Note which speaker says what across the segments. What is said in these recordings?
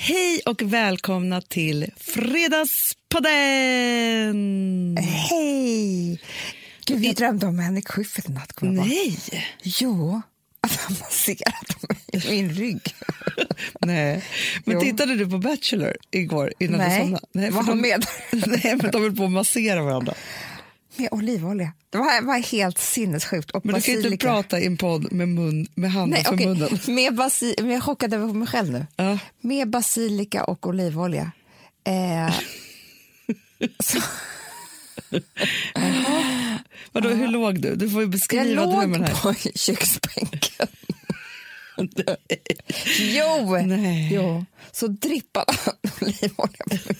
Speaker 1: Hej och välkomna till Fredagspodden!
Speaker 2: Hej! Gud, vi drömde om Henrik Schyffert i natt. kommer jag på.
Speaker 1: Nej!
Speaker 2: Jo, att han masserat mig i min rygg.
Speaker 1: Nej. Men
Speaker 2: Jo.
Speaker 1: tittade du på Bachelor igår innan du
Speaker 2: Nej.
Speaker 1: somnade? för
Speaker 2: Vad
Speaker 1: de,
Speaker 2: menar
Speaker 1: Nej, men de höll på att massera varandra.
Speaker 2: Med olivolja. Det var, var helt sinnessjukt. Och
Speaker 1: Men du kan ju inte
Speaker 2: basilika.
Speaker 1: prata i en podd med, mun, med handen
Speaker 2: Nej,
Speaker 1: för
Speaker 2: okej.
Speaker 1: munnen.
Speaker 2: Med basi- men jag är chockad över mig själv nu.
Speaker 1: Ja.
Speaker 2: Med basilika och olivolja. Eh,
Speaker 1: Vadå, hur låg du? Du får ju
Speaker 2: jag
Speaker 1: beskriva
Speaker 2: låg
Speaker 1: drömmen här.
Speaker 2: på köksbänken. jo.
Speaker 1: Nej.
Speaker 2: jo! Så drippade han olivolja på mig.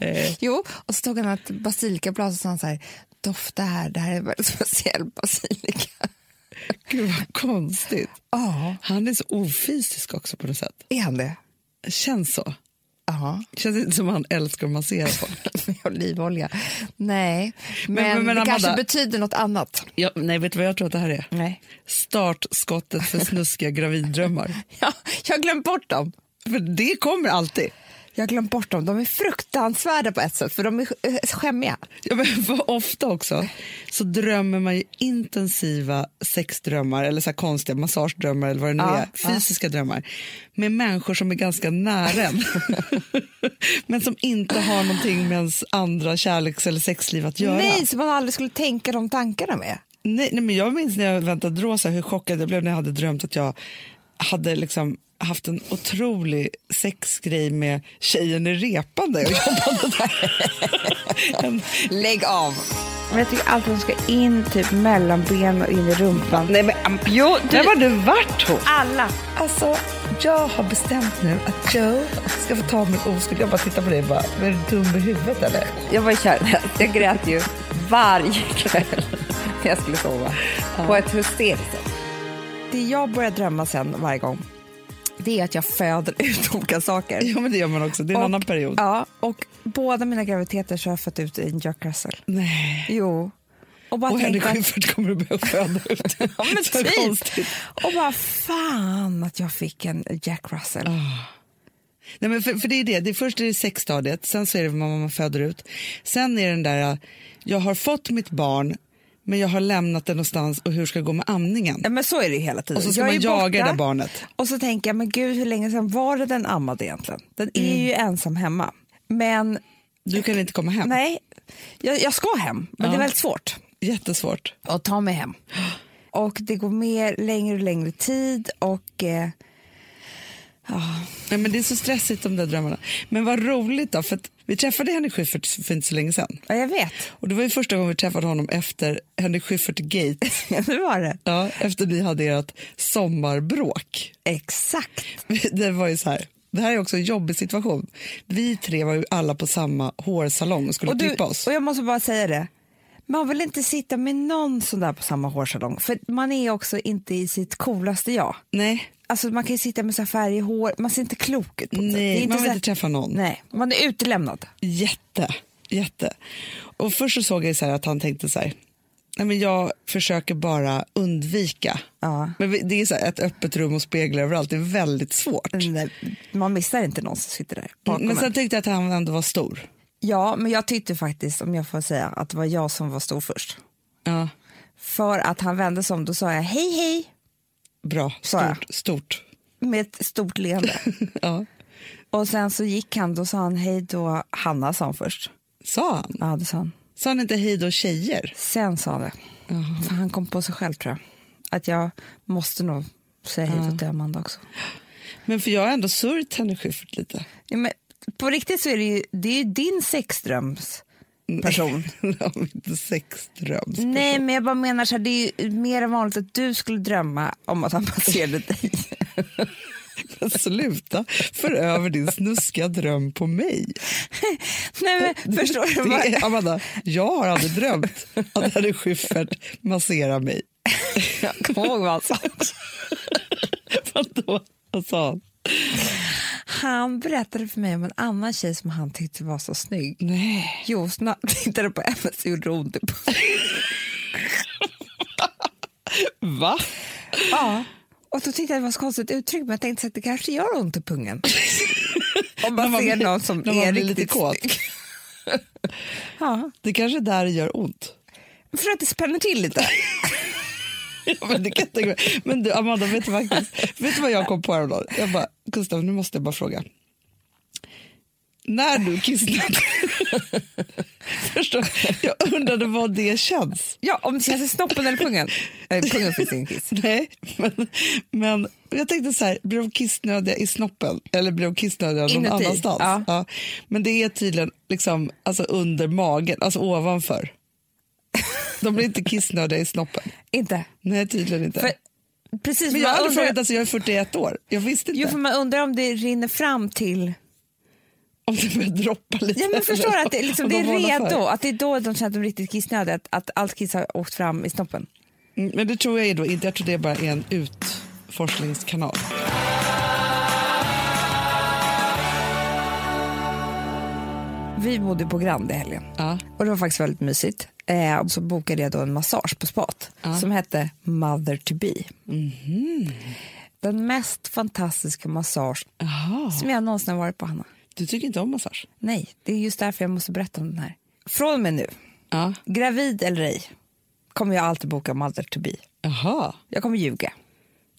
Speaker 1: Nej.
Speaker 2: Jo, och så tog han ett basilikablad och sa han så här, dofta här, det här är en väldigt speciell basilika.
Speaker 1: Gud, vad konstigt.
Speaker 2: Ja,
Speaker 1: Han är så ofysisk också på något sätt.
Speaker 2: är han det?
Speaker 1: Känns så.
Speaker 2: Ja,
Speaker 1: Känns inte som han älskar att massera folk.
Speaker 2: med olivolja. Nej, men,
Speaker 1: Men- men- men
Speaker 2: det kanske
Speaker 1: Amanda-
Speaker 2: betyder något annat.
Speaker 1: Ja, nej, vet du vad jag tror att det här är?
Speaker 2: Nej.
Speaker 1: Startskottet för snuskiga graviddrömmar.
Speaker 2: Ja, jag har glömt bort dem.
Speaker 1: För det kommer alltid.
Speaker 2: Jag har glömt bort dem. De är fruktansvärda på ett sätt, för de är eh, skämmiga.
Speaker 1: Ja, men för ofta också så drömmer man ju intensiva sexdrömmar eller så här konstiga massagedrömmar eller vad det nu
Speaker 2: Ja,
Speaker 1: är,
Speaker 2: ja.
Speaker 1: fysiska drömmar med människor som är ganska nära en. men som inte har någonting med ens andra kärleks eller sexliv att göra.
Speaker 2: Nej, som man aldrig skulle tänka de tankarna med.
Speaker 1: Nej, nej, men jag minns när jag väntade Rosa hur chockad jag blev när jag hade drömt att jag hade liksom haft en otrolig sexgrej med tjejen i repande. Jag jobbade där. En-
Speaker 2: Lägg av! Men jag tycker alltid att de ska in typ mellan ben och in i rumpan. Nej, men, jo,
Speaker 1: Där var du vart hon?
Speaker 2: alla!
Speaker 1: Alltså, jag har bestämt nu att Joe ska få ta min oskuld. Jag bara tittar på dig och bara, är du dum i huvudet eller?
Speaker 2: Jag var kär. Jag grät ju varje kväll när jag skulle sova. På ett hysteriskt sätt. Det jag börjar drömma sen varje gång, det är att jag föder ut olika saker.
Speaker 1: Ja, men det gör man också. Det är en
Speaker 2: Och-
Speaker 1: annan period.
Speaker 2: Ja, och båda mina graviditeter så har jag fött ut en Jack Russell.
Speaker 1: Nej.
Speaker 2: Jo. Och bara
Speaker 1: Och Henrik
Speaker 2: tänkte att-
Speaker 1: Schyffert kommer att börja föda ut.
Speaker 2: Ja, men
Speaker 1: Så
Speaker 2: typ.
Speaker 1: konstigt.
Speaker 2: Och bara fan att jag fick en Jack Russell.
Speaker 1: Nej, men för, för det är det. det är, först är det sexstadiet, sen så är det vad man föder ut. Sen är det den där, jag har fått mitt barn, men jag har lämnat det någonstans och hur ska det gå med amningen?
Speaker 2: Ja, men så är det ju hela tiden.
Speaker 1: Och så ska
Speaker 2: jag är
Speaker 1: man
Speaker 2: ju
Speaker 1: jaga
Speaker 2: borta,
Speaker 1: det där barnet.
Speaker 2: Och så tänker jag, men gud hur länge sedan var det den ammade egentligen? Den är
Speaker 1: Mm.
Speaker 2: ju ensam hemma. Men
Speaker 1: Du kan inte komma hem.
Speaker 2: nej, jag, jag ska hem, men det är väldigt svårt
Speaker 1: Jättesvårt.
Speaker 2: att ta mig hem. Och det går mer längre och längre tid och eh,
Speaker 1: Nej, men det är så stressigt de där drömmarna. Men vad roligt då, för att vi träffade Henrik Schyffert för inte så länge sedan.
Speaker 2: ja, jag vet,
Speaker 1: Och det var ju första gången vi träffade honom efter Henrik Schyffert Gate.
Speaker 2: nu var det.
Speaker 1: Ja, efter ni hade ert sommarbråk.
Speaker 2: Exakt.
Speaker 1: Det var ju så här. Det här är också en jobbig situation. Vi tre var ju alla på samma hårsalong och skulle
Speaker 2: Och, du,
Speaker 1: klippa oss.
Speaker 2: och jag måste bara säga det. Man vill inte sitta med någon sån där på samma hårsalong, för man är också inte i sitt coolaste jag.
Speaker 1: Nej,
Speaker 2: Alltså man kan ju sitta med så här färg i hår, man ser inte klok ut. På något sätt. Det är
Speaker 1: nej man
Speaker 2: så
Speaker 1: vill
Speaker 2: här-
Speaker 1: inte träffa någon.
Speaker 2: Nej, man är utelämnad.
Speaker 1: Jätte, jätte. Och först så såg jag så här att han tänkte så här. Nej, men jag försöker bara undvika.
Speaker 2: Ja.
Speaker 1: Men vi- det är så här ett öppet rum och speglar överallt. Det är väldigt svårt.
Speaker 2: Man missar inte någon som sitter där Mm, bakom
Speaker 1: Men
Speaker 2: en.
Speaker 1: sen tyckte jag att han ändå var stor.
Speaker 2: Ja, men jag tyckte faktiskt, om jag får säga, att det var jag som var stor först.
Speaker 1: Ja,
Speaker 2: För att han vände sig om, då sa jag hej hej
Speaker 1: bra.
Speaker 2: Sa jag.
Speaker 1: Stort. stort.
Speaker 2: med ett stort leende.
Speaker 1: Ja.
Speaker 2: och sen så gick han, då sa han hej då, Hanna sa han först.
Speaker 1: Sa han?
Speaker 2: Ja, det sa han.
Speaker 1: Sa han inte hej då tjejer?
Speaker 2: Sen sa han det. För han kom på sig själv tror jag. Att jag måste nog säga hej då till Amanda också.
Speaker 1: Men för jag har ändå sörjt Henrik Schyffert lite.
Speaker 2: Ja, men på riktigt så är det ju, det är ju din sexdröms person.
Speaker 1: Ja, men inte sexdröms.
Speaker 2: Nej, men jag bara menar så här, det är ju mer än vanligt att du skulle drömma om att han passerade dig.
Speaker 1: Men Sluta för över din snuskiga dröm på mig.
Speaker 2: Nej, men förstår du? Vad?
Speaker 1: Det är, Amanda, jag har aldrig drömt att Henrik Schyffert masserar mig.
Speaker 2: Jag kommer ihåg vad han sa.
Speaker 1: Vadå? Vad sa han?
Speaker 2: Han berättade för mig om en annan tjej som han tyckte var så snygg.
Speaker 1: Nej.
Speaker 2: Jo, snabbt tittade på henne så gjorde det ont i pungen.
Speaker 1: Va?
Speaker 2: Ja. Och då tyckte jag det var så konstigt uttryck, men jag tänkte så att det kanske gör ont i pungen. Om man,
Speaker 1: När
Speaker 2: ser
Speaker 1: blir-
Speaker 2: någon som
Speaker 1: när man
Speaker 2: är
Speaker 1: blir
Speaker 2: riktigt
Speaker 1: lite kåt.
Speaker 2: snygg. Ja,
Speaker 1: Det kanske är där det gör ont.
Speaker 2: för att det spänner till lite.
Speaker 1: Ja, men, det kan jag tänka mig. men du, Amanda, vet du, faktiskt, vet du vad jag kom på häromdagen? Jag bara, Gustav, nu måste jag bara fråga. När du kissnade, förstår jag Jag undrade vad det känns.
Speaker 2: Ja, om det känns i snoppen eller pungen. Eh, pungen finns ingen kiss.
Speaker 1: Nej, men, men jag tänkte så här, blir de kissnödiga i snoppen eller blir de kissnödiga någon
Speaker 2: Inuti,
Speaker 1: annanstans?
Speaker 2: ja.
Speaker 1: Men det är tydligen liksom, alltså under magen, alltså ovanför. De blir inte kissnödiga i snoppen.
Speaker 2: Inte.
Speaker 1: Nej, tydligen inte.
Speaker 2: För, precis,
Speaker 1: men jag har
Speaker 2: man
Speaker 1: aldrig
Speaker 2: undrar,
Speaker 1: frågat, alltså, jag är 41 år. Jag visste inte
Speaker 2: jo, för man undrar om det rinner fram till...
Speaker 1: om det börjar droppa lite.
Speaker 2: Ja, men förstår att det, liksom,
Speaker 1: Om
Speaker 2: det
Speaker 1: de
Speaker 2: är
Speaker 1: varnar för.
Speaker 2: redo, att det är då de känner att de är riktigt kissnödiga, att, att allt kiss har åkt fram i snoppen.
Speaker 1: Mm, Men det tror jag är då inte. Jag tror det bara är en utforskningskanal.
Speaker 2: Vi bodde på Grand i helgen
Speaker 1: Ja.
Speaker 2: och det var faktiskt väldigt mysigt. Eh, och så bokade jag då en massage på spat som hette Mother to be.
Speaker 1: Mhm.
Speaker 2: Den mest fantastiska massage
Speaker 1: Jaha,
Speaker 2: som jag någonsin har varit på, Hanna.
Speaker 1: du tycker inte om massage?
Speaker 2: Nej, det är just därför jag måste berätta om den här. Från och med nu,
Speaker 1: Ja.
Speaker 2: gravid eller ej, kommer jag alltid boka Mother to be.
Speaker 1: Jaha,
Speaker 2: Jag kommer ljuga.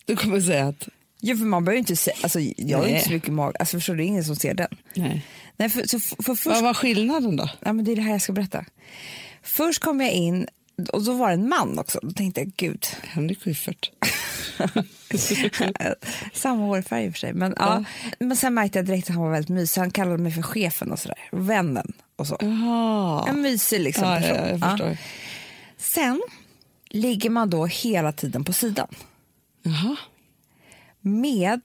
Speaker 1: du kommer säga att...
Speaker 2: Jo, för man behöver ju inte säga, alltså, jag har ju
Speaker 1: Nej.
Speaker 2: inte så mycket mag, alltså, förstår du, det är ingen som ser den.
Speaker 1: Nej.
Speaker 2: Nej, för, så f- för först,
Speaker 1: Vad var skillnaden då?
Speaker 2: ja, men det är det här jag ska berätta. Först kom jag in och då var det en man också, då tänkte jag gud,
Speaker 1: Henrik Schyffert.
Speaker 2: samma hårfärg i och för sig. Men, ja. men sen märkte jag direkt att han var väldigt mysig, han kallade mig för chefen och sådär, vännen och så.
Speaker 1: Jaha.
Speaker 2: En mysig liksom
Speaker 1: Ja,
Speaker 2: person.
Speaker 1: ja, jag
Speaker 2: Ja.
Speaker 1: förstår.
Speaker 2: Sen ligger man då hela tiden på sidan
Speaker 1: Jaha.
Speaker 2: med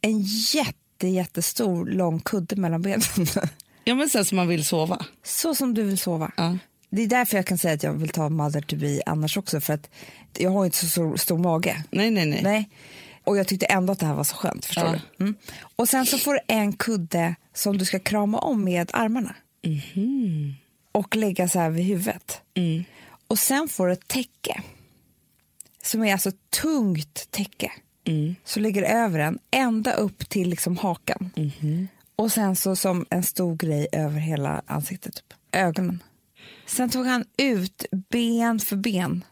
Speaker 2: en jätte, jättestor lång kudde mellan benen.
Speaker 1: Ja, men sen som man vill sova.
Speaker 2: Så som du vill sova.
Speaker 1: Ja.
Speaker 2: Det är därför jag kan säga att jag vill ta mother to be annars också för att jag har inte så stor, stor mage.
Speaker 1: Nej, nej, nej.
Speaker 2: Nej. Och jag tyckte ändå att det här var så skönt. Förstår
Speaker 1: Ja.
Speaker 2: du? Mm. Och sen så får du en kudde som du ska krama om med armarna.
Speaker 1: Mhm.
Speaker 2: Och lägga så här vid huvudet.
Speaker 1: Mm.
Speaker 2: Och sen får du ett täcke. Som är alltså ett tungt täcke.
Speaker 1: Mm.
Speaker 2: Så ligger det över den ända upp till liksom hakan.
Speaker 1: Mhm.
Speaker 2: Och sen så som en stor grej över hela ansiktet. Typ. Ögonen. Sen tog han ut ben för ben.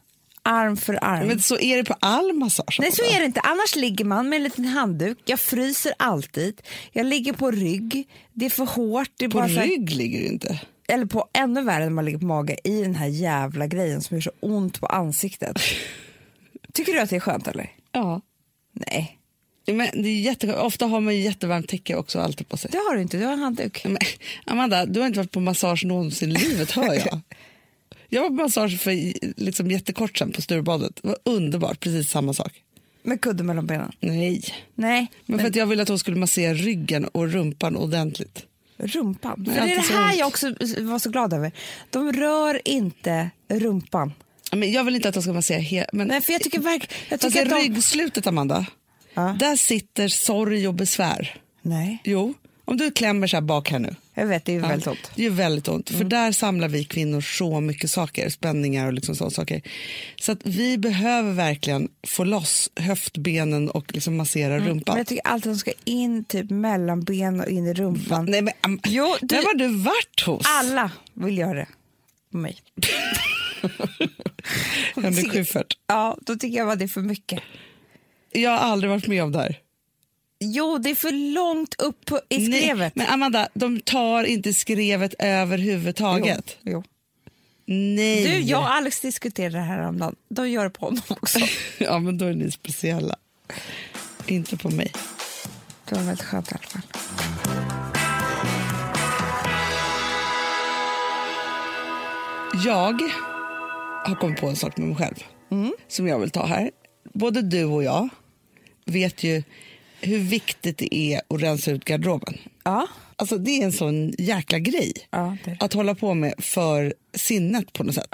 Speaker 2: Arm för arm.
Speaker 1: Men så är det på all massage?
Speaker 2: Nej, så är det inte. Annars ligger man med en liten handduk. Jag fryser alltid. Jag ligger på rygg. Det är för hårt. Det är
Speaker 1: På
Speaker 2: bara så här-
Speaker 1: rygg ligger det inte.
Speaker 2: eller på ännu värre när man ligger på mage i den här jävla grejen som gör så ont på ansiktet. Tycker du att det är skönt eller?
Speaker 1: Ja.
Speaker 2: Nej,
Speaker 1: Men det är jätte... Ofta har man ju jättevarmt täcke också alltid på sig.
Speaker 2: det har du inte. Du har en handduk.
Speaker 1: Ja, men Amanda, du har inte varit på massage någonsin i livet, hör jag. Jag var på massage för liksom, jättekort sedan på Sturebadet. Det var underbart, precis samma sak.
Speaker 2: Med kudde mellan benen.
Speaker 1: Nej,
Speaker 2: Nej,
Speaker 1: men för att jag ville att hon skulle massera ryggen och rumpan ordentligt.
Speaker 2: rumpan. För
Speaker 1: Men
Speaker 2: det är
Speaker 1: alltid
Speaker 2: det
Speaker 1: så
Speaker 2: här
Speaker 1: ont.
Speaker 2: jag också var så glad över. De rör inte rumpan.
Speaker 1: Ja, Men jag vill inte att de ska massera hela... Men
Speaker 2: Nej, för jag tycker verkligen... Jag
Speaker 1: fast
Speaker 2: tycker
Speaker 1: i
Speaker 2: att de...
Speaker 1: ryggslutet, Amanda,
Speaker 2: Ja.
Speaker 1: där sitter sorg och besvär.
Speaker 2: Nej,
Speaker 1: Jo, om du klämmer så här bak här nu.
Speaker 2: jag vet. Det är
Speaker 1: Ja,
Speaker 2: väldigt ont. Mm.
Speaker 1: Det är väldigt ont. För där samlar vi kvinnor så mycket saker, spänningar och liksom sådana saker. Så att vi behöver verkligen få loss höftbenen och liksom massera rumpan.
Speaker 2: Mm. Men jag tycker alltid att de ska in typ mellan ben och in i rumpan.
Speaker 1: Nej, men, am-
Speaker 2: Jo, du-
Speaker 1: Vem har du varit hos?
Speaker 2: Alla vill göra det. På mig.
Speaker 1: Henrik Schyffert.
Speaker 2: Ja, då tycker jag att det är för mycket.
Speaker 1: Jag har aldrig varit med om det här.
Speaker 2: Jo, det är för långt upp på, i
Speaker 1: Nej,
Speaker 2: skrevet.
Speaker 1: Men Amanda, de tar inte skrevet överhuvudtaget.
Speaker 2: Jo, jo.
Speaker 1: Nej.
Speaker 2: Du, jag och Alex diskuterade det här häromdagen. De gör det på honom också.
Speaker 1: ja, men då är ni speciella. Inte på mig.
Speaker 2: Det var väldigt skönt i alla fall.
Speaker 1: Jag har kommit på en sak med mig själv
Speaker 2: Mm.
Speaker 1: som jag vill ta här. Både du och jag vet ju hur viktigt det är att rensa ut garderoben.
Speaker 2: Ja,
Speaker 1: Alltså det är en sån jäkla grej
Speaker 2: Ja, det-
Speaker 1: att hålla på med för sinnet på något sätt.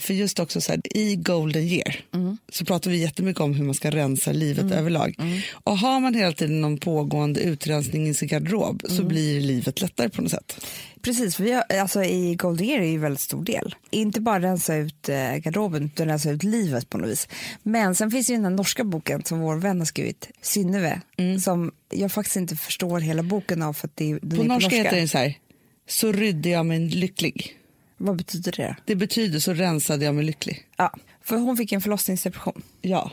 Speaker 1: För just också så här, i golden year
Speaker 2: Mm.
Speaker 1: så pratar vi jättemycket om hur man ska rensa livet överlag.
Speaker 2: Mm.
Speaker 1: Och har man hela tiden någon pågående utrensning i sin garderob så
Speaker 2: Mm.
Speaker 1: blir livet lättare på något sätt.
Speaker 2: Precis, för vi har, alltså, i Golden Year är ju en väldigt stor del. Inte bara rensa ut eh, garderoben utan rensa ut livet på något vis. Men sen finns ju den här norska boken som vår vän har skrivit, Synnøve, som jag faktiskt inte förstår hela boken av för att det, är- den
Speaker 1: Mm. På
Speaker 2: är på
Speaker 1: norska
Speaker 2: norska.
Speaker 1: heter den så här, så rydde jag mig lycklig.
Speaker 2: Vad betyder det?
Speaker 1: Det betyder så rensade jag mig lycklig.
Speaker 2: Ja, för hon fick en förlossningsdepression.
Speaker 1: Ja.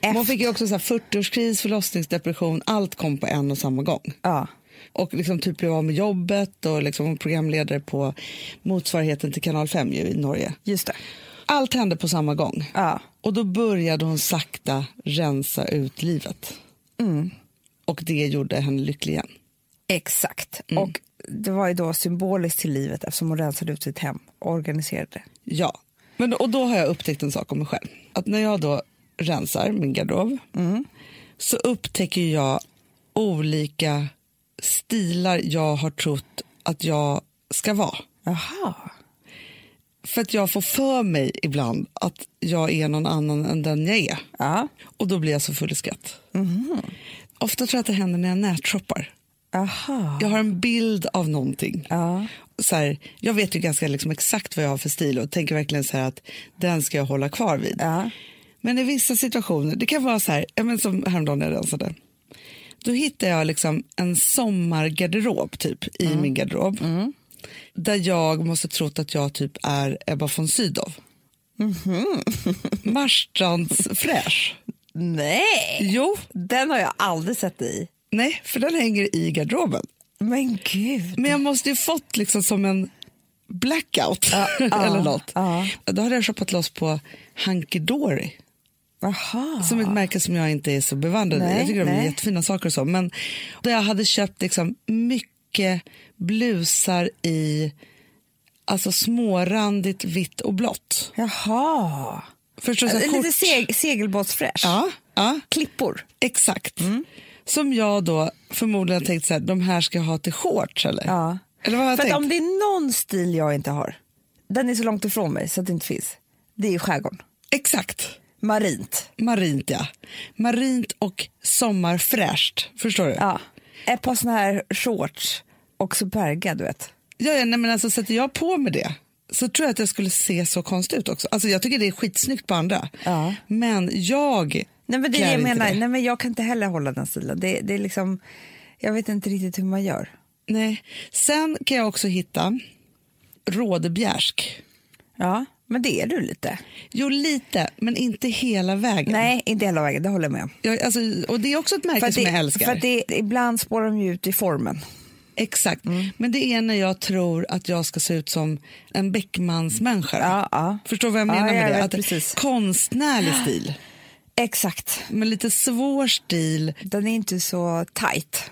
Speaker 2: Efter-
Speaker 1: Man fick ju också så här 40-årskris, förlossningsdepression, allt kom på en och samma gång.
Speaker 2: Ja,
Speaker 1: Och liksom typ blev av med jobbet och liksom var programledare på motsvarigheten till Kanal 5 ju, i Norge.
Speaker 2: just det.
Speaker 1: Allt hände på samma gång.
Speaker 2: Ja.
Speaker 1: Och då började hon sakta rensa ut livet. Och det gjorde henne lycklig igen.
Speaker 2: Exakt.
Speaker 1: Mm.
Speaker 2: Och det var ju då symboliskt till livet eftersom hon rensade ut sitt hem och organiserade det.
Speaker 1: Ja. Men, och då har jag upptäckt en sak om mig själv. Att när jag då rensar min garderob så upptäcker jag olika stilar jag har trott att jag ska vara.
Speaker 2: Jaha.
Speaker 1: För att jag får för mig ibland att jag är någon annan än den jag är.
Speaker 2: Ja.
Speaker 1: Och då blir jag så full i skratt. Ofta tror jag att det händer när jag nätshoppar.
Speaker 2: Aha.
Speaker 1: Jag har en bild av någonting.
Speaker 2: Ja.
Speaker 1: Så här, jag vet ju ganska liksom exakt vad jag har för stil och tänker verkligen så här att den ska jag hålla kvar vid.
Speaker 2: Ja.
Speaker 1: Men i vissa situationer, det kan vara så här, ja, men som häromdagen när jag rensade. Då hittade jag liksom en sommargarderob typ
Speaker 2: Mm.
Speaker 1: i min garderob. Där jag måste trott att jag typ är Ebba von Sydow.
Speaker 2: Mhm.
Speaker 1: Marstrands fräsch.
Speaker 2: Nej,
Speaker 1: Jo,
Speaker 2: den har jag aldrig sett dig i.
Speaker 1: nej, för den hänger i garderoben.
Speaker 2: Men gud.
Speaker 1: Men jag måste ju fått liksom som en blackout eller något.
Speaker 2: ja.
Speaker 1: Då hade jag shoppat loss på Hunky Dory.
Speaker 2: Aha.
Speaker 1: Som ett märke som jag inte är så bevandrad i.
Speaker 2: Nej,
Speaker 1: Jag tycker de är
Speaker 2: nej.
Speaker 1: jättefina saker och så. Men då jag hade köpt liksom mycket blusar i alltså smårandigt vitt och blått.
Speaker 2: Jaha.
Speaker 1: Förstår du? så här
Speaker 2: Lite
Speaker 1: kort-
Speaker 2: seg- segelbåtsfräsch.
Speaker 1: Ja, ja,
Speaker 2: Klippor.
Speaker 1: exakt.
Speaker 2: Mm.
Speaker 1: Som jag då förmodligen tänkt så här, de här ska jag ha till shorts eller?
Speaker 2: Ja.
Speaker 1: Eller vad har jag
Speaker 2: För att
Speaker 1: tänkt?
Speaker 2: om det är någon stil jag inte har, den är så långt ifrån mig så att det inte finns, det är ju skärgården.
Speaker 1: Exakt.
Speaker 2: Marint.
Speaker 1: Marint ja. Marint och sommarfräscht. Förstår du?
Speaker 2: Ja. Ett par såna här shorts och så berga, du vet.
Speaker 1: Ja, ja nej, men alltså sätter jag på mig det så tror jag att jag skulle se så konstig ut också. Alltså jag tycker det är skitsnyggt på andra.
Speaker 2: Ja.
Speaker 1: Men jag
Speaker 2: Nej men det är
Speaker 1: klär
Speaker 2: det jag
Speaker 1: inte
Speaker 2: menar.
Speaker 1: det.
Speaker 2: Nej men jag kan inte heller hålla den stilen. Det, det är liksom, jag vet inte riktigt hur man gör.
Speaker 1: Nej. Sen kan jag också hitta rådebjärsk.
Speaker 2: Ja, men det är du lite.
Speaker 1: Jo, lite, men inte hela vägen.
Speaker 2: Nej, inte hela vägen, det håller jag med om.
Speaker 1: Jag, alltså, och det är också ett märke
Speaker 2: att
Speaker 1: som
Speaker 2: det,
Speaker 1: jag älskar.
Speaker 2: För att det, ibland spårar de ju ut i formen.
Speaker 1: Exakt.
Speaker 2: Mm.
Speaker 1: Men det är när jag tror att jag ska se ut som en Beckmansmänniska.
Speaker 2: Ja, ja.
Speaker 1: Förstår vad jag
Speaker 2: Ja,
Speaker 1: menar
Speaker 2: jag
Speaker 1: med det?
Speaker 2: vet
Speaker 1: Att
Speaker 2: precis.
Speaker 1: Konstnärlig stil,
Speaker 2: Exakt.
Speaker 1: men lite svår stil.
Speaker 2: Den är inte så tight.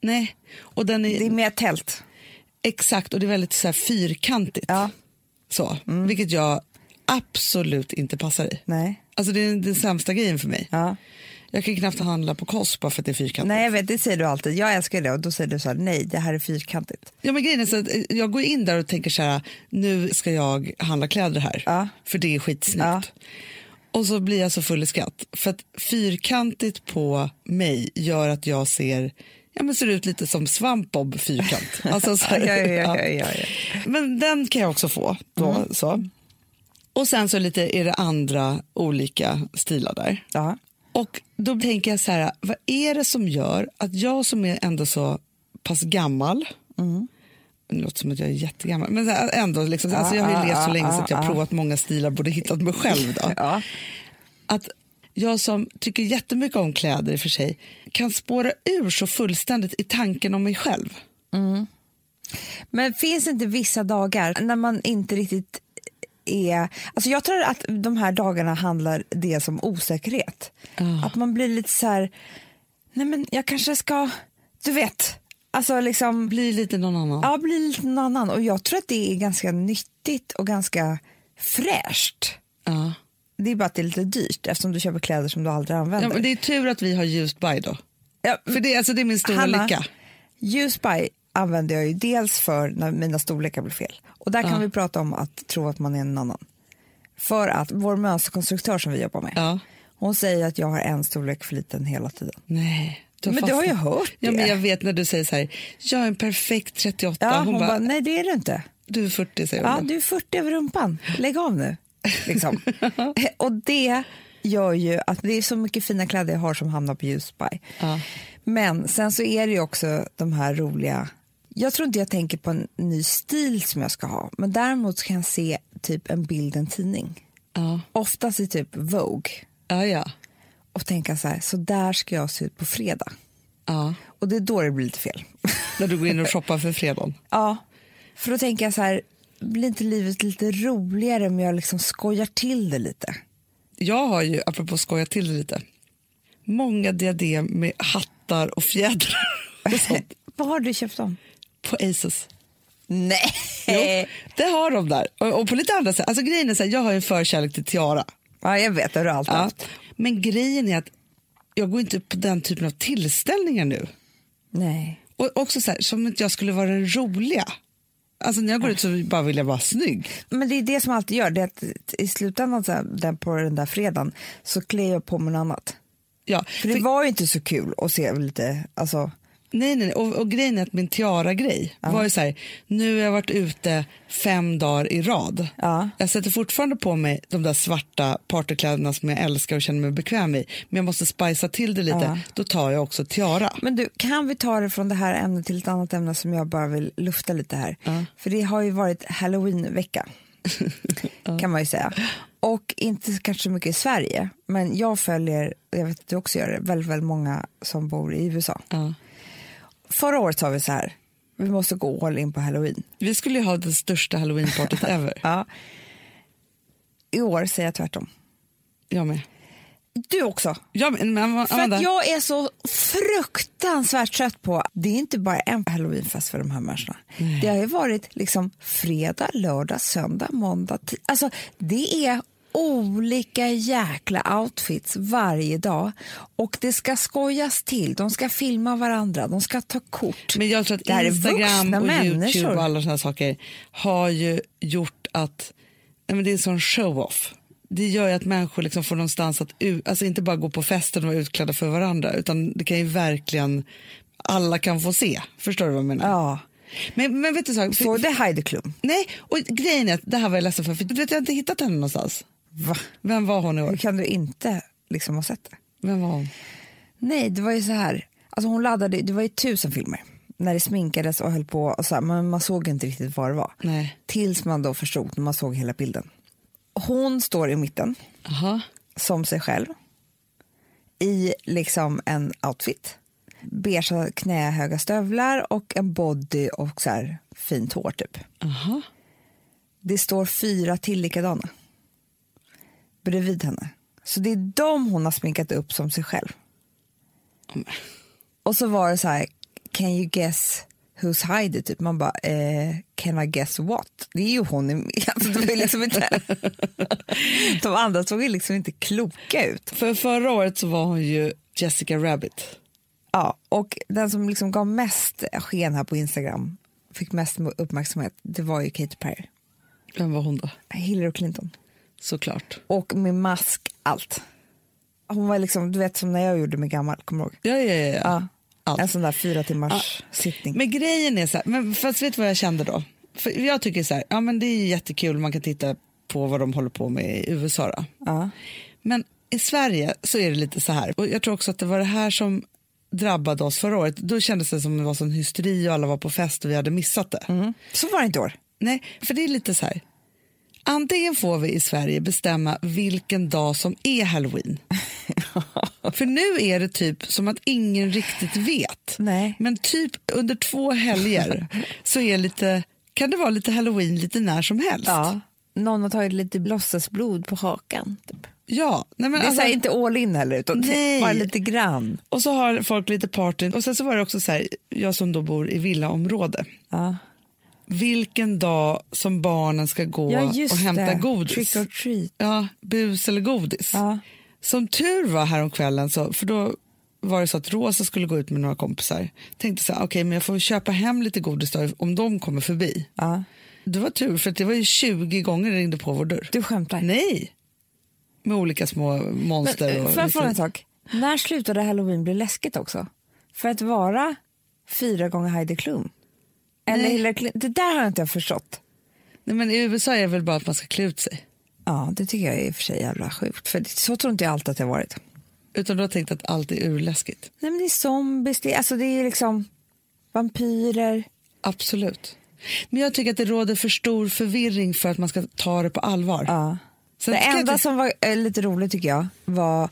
Speaker 1: Nej, och den
Speaker 2: Det är mer tält.
Speaker 1: Exakt, och det är väldigt så här fyrkantigt.
Speaker 2: Ja. Mm.
Speaker 1: Så, Vilket jag absolut inte passar i.
Speaker 2: Nej.
Speaker 1: Alltså det är den sämsta grejen för mig.
Speaker 2: Ja.
Speaker 1: Jag kan knappt handla på Kosp bara för att det är fyrkantigt.
Speaker 2: Nej, jag vet, det säger du alltid. Jag älskar det och då säger du så här, nej, det här är fyrkantigt.
Speaker 1: Ja, men grejen är så att eh, jag går in där och tänker så här, nu ska jag handla kläder här,
Speaker 2: Ja.
Speaker 1: för det är skitsnyggt.
Speaker 2: Ja.
Speaker 1: Och så blir jag så full i skratt, för att fyrkantigt på mig gör att jag ser Ja, men ser ut lite som svampbob fyrkant. Alltså, så här,
Speaker 2: Ja, ja, ja, ja, Mm. ja, ja.
Speaker 1: Men den kan jag också få. Då, så. Och sen så lite är det andra olika stilar där.
Speaker 2: Ja.
Speaker 1: Och då tänker jag så här, vad är det som gör att jag som är ändå så pass gammal, mm. det låter som att jag är jättegammal, men så här, ändå liksom, alltså jag har ju
Speaker 2: ah,
Speaker 1: levt så
Speaker 2: ah,
Speaker 1: länge så att jag har
Speaker 2: ah,
Speaker 1: provat många stilar, borde hittat mig själv då.
Speaker 2: Ja.
Speaker 1: Att jag som tycker jättemycket om kläder i och för sig kan spåra ur så fullständigt i tanken om mig själv.
Speaker 2: Men finns det inte vissa dagar när man inte riktigt är... Alltså jag tror att de här dagarna handlar det som osäkerhet. Att man blir lite så här, nej men jag kanske ska, du vet, alltså liksom...
Speaker 1: Blir lite någon annan.
Speaker 2: Ja, bli lite någon annan. Och jag tror att det är ganska nyttigt och ganska fräscht.
Speaker 1: Ja.
Speaker 2: Det är bara att det är lite dyrt eftersom du köper kläder som du aldrig
Speaker 1: Ja,
Speaker 2: använder.
Speaker 1: men det är tur att vi har ljust by då.
Speaker 2: Ja,
Speaker 1: För det, är- alltså, det är min stora
Speaker 2: Hanna,
Speaker 1: lycka.
Speaker 2: Ljus by använder jag ju dels för när mina storlekar blir fel. Och där kan vi prata om att tro att man är en annan. För att vår mönsterkonstruktör som vi jobbar med,
Speaker 1: Ja.
Speaker 2: hon säger att jag har en storlek för liten hela tiden.
Speaker 1: Nej.
Speaker 2: Men du har ju hört
Speaker 1: ja,
Speaker 2: det.
Speaker 1: men Jag vet när du säger så här, jag är en perfekt 38.
Speaker 2: Ja,
Speaker 1: hon
Speaker 2: hon bara,
Speaker 1: bara,
Speaker 2: nej det är du inte.
Speaker 1: du är 40 säger
Speaker 2: Ja,
Speaker 1: hon.
Speaker 2: du är 40 över rumpan. Lägg av nu. Liksom. och det gör ju att det är så mycket fina kläder jag har som hamnar på Ljusby.
Speaker 1: Ja.
Speaker 2: Men sen så är det ju också de här roliga... Jag tror inte jag tänker på en ny stil som jag ska ha, men däremot kan jag se typ en bild, i en tidning.
Speaker 1: Ja.
Speaker 2: Oftast i typ Vogue
Speaker 1: Ja, ja.
Speaker 2: och tänka så här, så där ska jag se ut på fredag.
Speaker 1: ja.
Speaker 2: Och det är då det blir lite fel.
Speaker 1: När du går in och shoppar för fredagen.
Speaker 2: Ja, för då tänker jag så här, blir inte livet lite roligare om jag liksom skojar till det lite?
Speaker 1: Jag har ju, apropå skoja till det lite, många diadem med hattar och fjädrar och sånt
Speaker 2: Vad har du köpt dem?
Speaker 1: på Asos.
Speaker 2: Nej!
Speaker 1: Jo, det har de där. Och, och på lite andra sätt. Alltså grejen är så här, jag har ju en förkärlek till tiara.
Speaker 2: Ja, jag vet, det har du alltid
Speaker 1: Ja.
Speaker 2: haft.
Speaker 1: Men grejen är att jag går inte på den typen av tillställningar nu.
Speaker 2: Nej.
Speaker 1: Och också så här, som att jag skulle vara den roliga. Alltså när jag går ut så bara vill jag vara snygg.
Speaker 2: Men det är det som jag alltid gör, det är att i slutändan så här, den på den där fredagen så klär jag på mig något annat.
Speaker 1: Ja.
Speaker 2: För det var ju inte så kul att se lite, alltså,
Speaker 1: Nej, nej, nej. Och, och grejen är att min tiara-grej var ju så här, nu har jag varit ute fem dagar i rad.
Speaker 2: Ja.
Speaker 1: Jag sätter fortfarande på mig de där svarta partykläderna som jag älskar och känner mig bekväm i, men jag måste spicea till det lite.
Speaker 2: Ja.
Speaker 1: Då tar jag också tiara.
Speaker 2: Men du, kan vi ta det från det här ämnet till ett annat ämne som jag bara vill lufta lite här. För det har ju varit halloweenvecka, kan man ju säga. Och inte kanske så mycket i Sverige, men jag följer, jag vet att du också gör det, väldigt, väldigt många som bor i USA.
Speaker 1: Ja.
Speaker 2: Förra året sa vi så här, vi måste gå all in på halloween.
Speaker 1: Vi skulle ju ha det största halloween-partyt ever.
Speaker 2: Ja. I år säger jag tvärtom.
Speaker 1: Jag med.
Speaker 2: Du också!
Speaker 1: Ja, men, men, Amanda,
Speaker 2: För att jag är så fruktansvärt trött på, det är inte bara en halloweenfest för de här människorna. Det har ju varit liksom fredag, lördag, söndag, måndag, ti- alltså det är olika jäkla outfits varje dag och det ska skojas till, de ska filma varandra, de ska ta kort.
Speaker 1: Men jag tror att
Speaker 2: Det här är
Speaker 1: Instagram
Speaker 2: vuxna
Speaker 1: och Youtube
Speaker 2: människor.
Speaker 1: och alla såna här saker har ju gjort att nej men det är en sån show-off. Det gör ju att människor liksom får någonstans att u- alltså inte bara gå på festen och vara utklädda för varandra utan det kan ju verkligen alla kan få se. Förstår du vad jag menar?
Speaker 2: Ja.
Speaker 1: Men, men vet du så,
Speaker 2: Så det är Heidi Klum.
Speaker 1: Nej, och grejen är att det här var jag ledsen för, för du vet, jag har inte hittat henne någonstans.
Speaker 2: Va?
Speaker 1: Vem var hon i
Speaker 2: Hur
Speaker 1: år?
Speaker 2: kan du inte liksom ha sett det?
Speaker 1: Vem var hon?
Speaker 2: Nej, det var ju så här. Alltså hon laddade, det var ju tusen filmer när det sminkades och höll på och så här, men man såg inte riktigt vad det var.
Speaker 1: Nej.
Speaker 2: Tills man då förstod när man såg hela bilden. Hon står i mitten
Speaker 1: Aha.
Speaker 2: som sig själv i liksom en outfit. Beiga knähöga stövlar och en body och så här fint hår typ.
Speaker 1: Aha.
Speaker 2: Det står fyra till likadana bredvid henne. Så det är dem hon har sminkat upp som sig själv. Och så var det så här, can you guess who's Heidi? Typ. Man bara, eh, can I guess what? Det är ju hon. i- Alltså, det var ju liksom inte... De andra såg ju liksom inte kloka ut.
Speaker 1: För förra året så var hon ju Jessica Rabbit.
Speaker 2: Ja, och den som liksom gav mest sken här på Instagram, fick mest uppmärksamhet, det var ju Katy Perry.
Speaker 1: Vem var hon då?
Speaker 2: Hillary Clinton.
Speaker 1: Såklart.
Speaker 2: och med mask, allt. Hon var liksom, du vet som när jag gjorde mig gammal, kommer du ihåg?
Speaker 1: Ja, ja, ja. ja. Allt.
Speaker 2: En sån där fyra timmars sittning.
Speaker 1: Men grejen är så här, men fast vet du vad jag kände då? För jag tycker så här, ja men det är ju jättekul, man kan titta på vad de håller på med i USA då.
Speaker 2: Ja.
Speaker 1: Men i Sverige så är det lite så här, och jag tror också att det var det här som drabbade oss förra året. Då kändes det som det var sån hysteri och alla var på fest och vi hade missat det.
Speaker 2: Mm. Så var det inte i år.
Speaker 1: Nej, för det är lite så här. Antingen får vi i Sverige bestämma vilken dag som är halloween. för nu är det typ som att ingen riktigt vet.
Speaker 2: Nej.
Speaker 1: Men typ under två helger så är lite, kan det vara lite halloween lite när som helst.
Speaker 2: Någon har tagit lite låtsasblod på hakan. Typ.
Speaker 1: ja. Nej, men
Speaker 2: Det är
Speaker 1: alltså,
Speaker 2: så här, inte all in heller, utan
Speaker 1: Nej.
Speaker 2: bara lite grann.
Speaker 1: och så har folk lite party. Och sen så var det också så här, jag som då bor i villaområde.
Speaker 2: Ja,
Speaker 1: Vilken dag som barnen ska gå och hämta godis.
Speaker 2: Trick or treat.
Speaker 1: Ja, bus eller godis.
Speaker 2: Ja.
Speaker 1: Som tur var häromkvällen, så, för då var det så att Rosa skulle gå ut med några kompisar. Tänkte så här, okej men jag får köpa hem lite godis då, om de kommer förbi.
Speaker 2: Ja.
Speaker 1: Det var tur för att det var ju 20 gånger det ringde på vår dörr.
Speaker 2: Du skämtar?
Speaker 1: Nej! Med olika små monster.
Speaker 2: Men, eh,
Speaker 1: och
Speaker 2: Får jag
Speaker 1: liksom-
Speaker 2: fråga en sak? När slutade halloween bli läskigt också? För att vara fyra gånger Heidi Klum? Eller
Speaker 1: Nej.
Speaker 2: Hillary Clinton? Det där har jag inte förstått.
Speaker 1: Nej, men I USA är det väl bara att man ska klä ut sig.
Speaker 2: Ja, det tycker jag är i och för sig jävla sjukt. För det- så tror inte jag alltid att det har varit.
Speaker 1: Utan du har tänkt att allt är urläskigt.
Speaker 2: Nej, men det är zombies, det är, alltså det är liksom vampyrer.
Speaker 1: Absolut. Men jag tycker att det råder för stor förvirring för att man ska ta det på allvar.
Speaker 2: Ja.
Speaker 1: Sen
Speaker 2: det
Speaker 1: ska jag
Speaker 2: enda
Speaker 1: inte-
Speaker 2: som var eh, lite roligt tycker jag var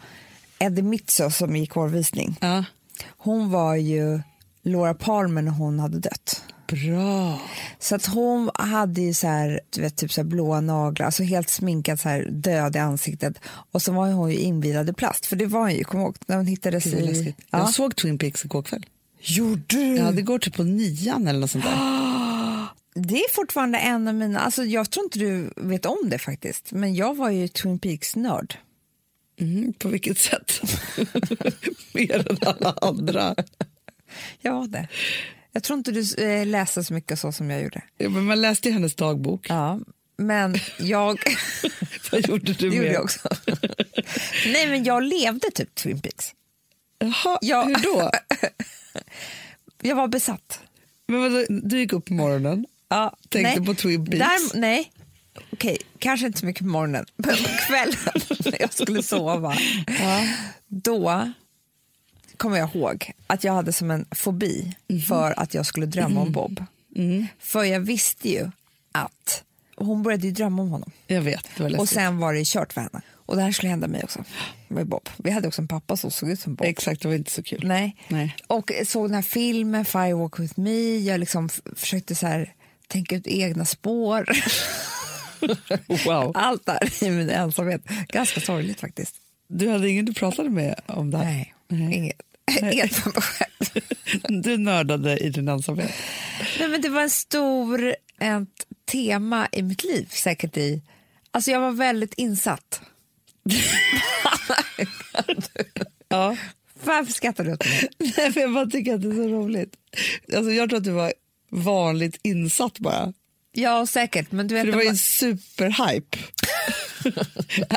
Speaker 2: Eddie Mitzo som gick hårvisning.
Speaker 1: Ja.
Speaker 2: Hon var ju Laura Palmer när hon hade dött.
Speaker 1: Bra.
Speaker 2: Så att hon hade ju så här, du vet, typ så här blåa naglar, alltså helt sminkad så här död i ansiktet. Och så var ju hon ju invirad i plast, för det var hon ju, kom ihåg, när hon hittades
Speaker 1: Det är
Speaker 2: i...
Speaker 1: läskigt. Jag
Speaker 2: Ja.
Speaker 1: såg Twin Peaks igår kväll.
Speaker 2: Gjorde du?
Speaker 1: Ja, det går typ på nian eller något sånt där.
Speaker 2: Det är fortfarande en av mina, alltså jag tror inte du vet om det faktiskt, men jag var ju Twin Peaks-nörd.
Speaker 1: Mm, på vilket sätt? Mer än alla andra.
Speaker 2: Jag var det. Jag tror inte du eh, läste så mycket så som jag gjorde.
Speaker 1: Ja, men man läste ju hennes dagbok.
Speaker 2: Ja. Men jag,
Speaker 1: Vad gjorde du
Speaker 2: det gjorde
Speaker 1: med?
Speaker 2: jag också. Nej men jag levde typ Twin Peaks.
Speaker 1: Jaha,
Speaker 2: Ja.
Speaker 1: hur då?
Speaker 2: Jag var besatt.
Speaker 1: Men vadå, du gick upp på morgonen,
Speaker 2: Ja,
Speaker 1: tänkte på Twin Peaks.
Speaker 2: Där, nej, okej, kanske inte så mycket på morgonen, men på kvällen när jag skulle sova, då kommer jag ihåg att jag hade som en fobi
Speaker 1: Mhm.
Speaker 2: för att jag skulle drömma om Bob.
Speaker 1: Mm.
Speaker 2: För jag visste ju att hon började ju drömma om honom.
Speaker 1: Jag vet, det var läskigt.
Speaker 2: Och sen var det kört för henne. Och det här skulle hända mig också. Med Bob. Vi hade också en pappa som såg ut som Bob.
Speaker 1: Exakt, det var inte så kul.
Speaker 2: Nej.
Speaker 1: Nej.
Speaker 2: Och såg den här filmen Firewalk with me. Jag liksom f- försökte så här, tänka ut egna spår.
Speaker 1: Wow.
Speaker 2: Allt där i min ensamhet. Ganska sorgligt faktiskt.
Speaker 1: Du hade ingen du pratade med om det här?
Speaker 2: Nej, inget. Inget för mig själv.
Speaker 1: Du nördade i din ensamhet.
Speaker 2: Nej, men det var en stor ett tema i mitt liv säkert i... Alltså jag var väldigt insatt.
Speaker 1: Ja.
Speaker 2: Varför skrattar du åt mig?
Speaker 1: Nej, för jag bara tycker att det är så roligt. Alltså, jag tror att du var vanligt insatt bara.
Speaker 2: Ja, säkert. Men du vet,
Speaker 1: För det var ju en superhype.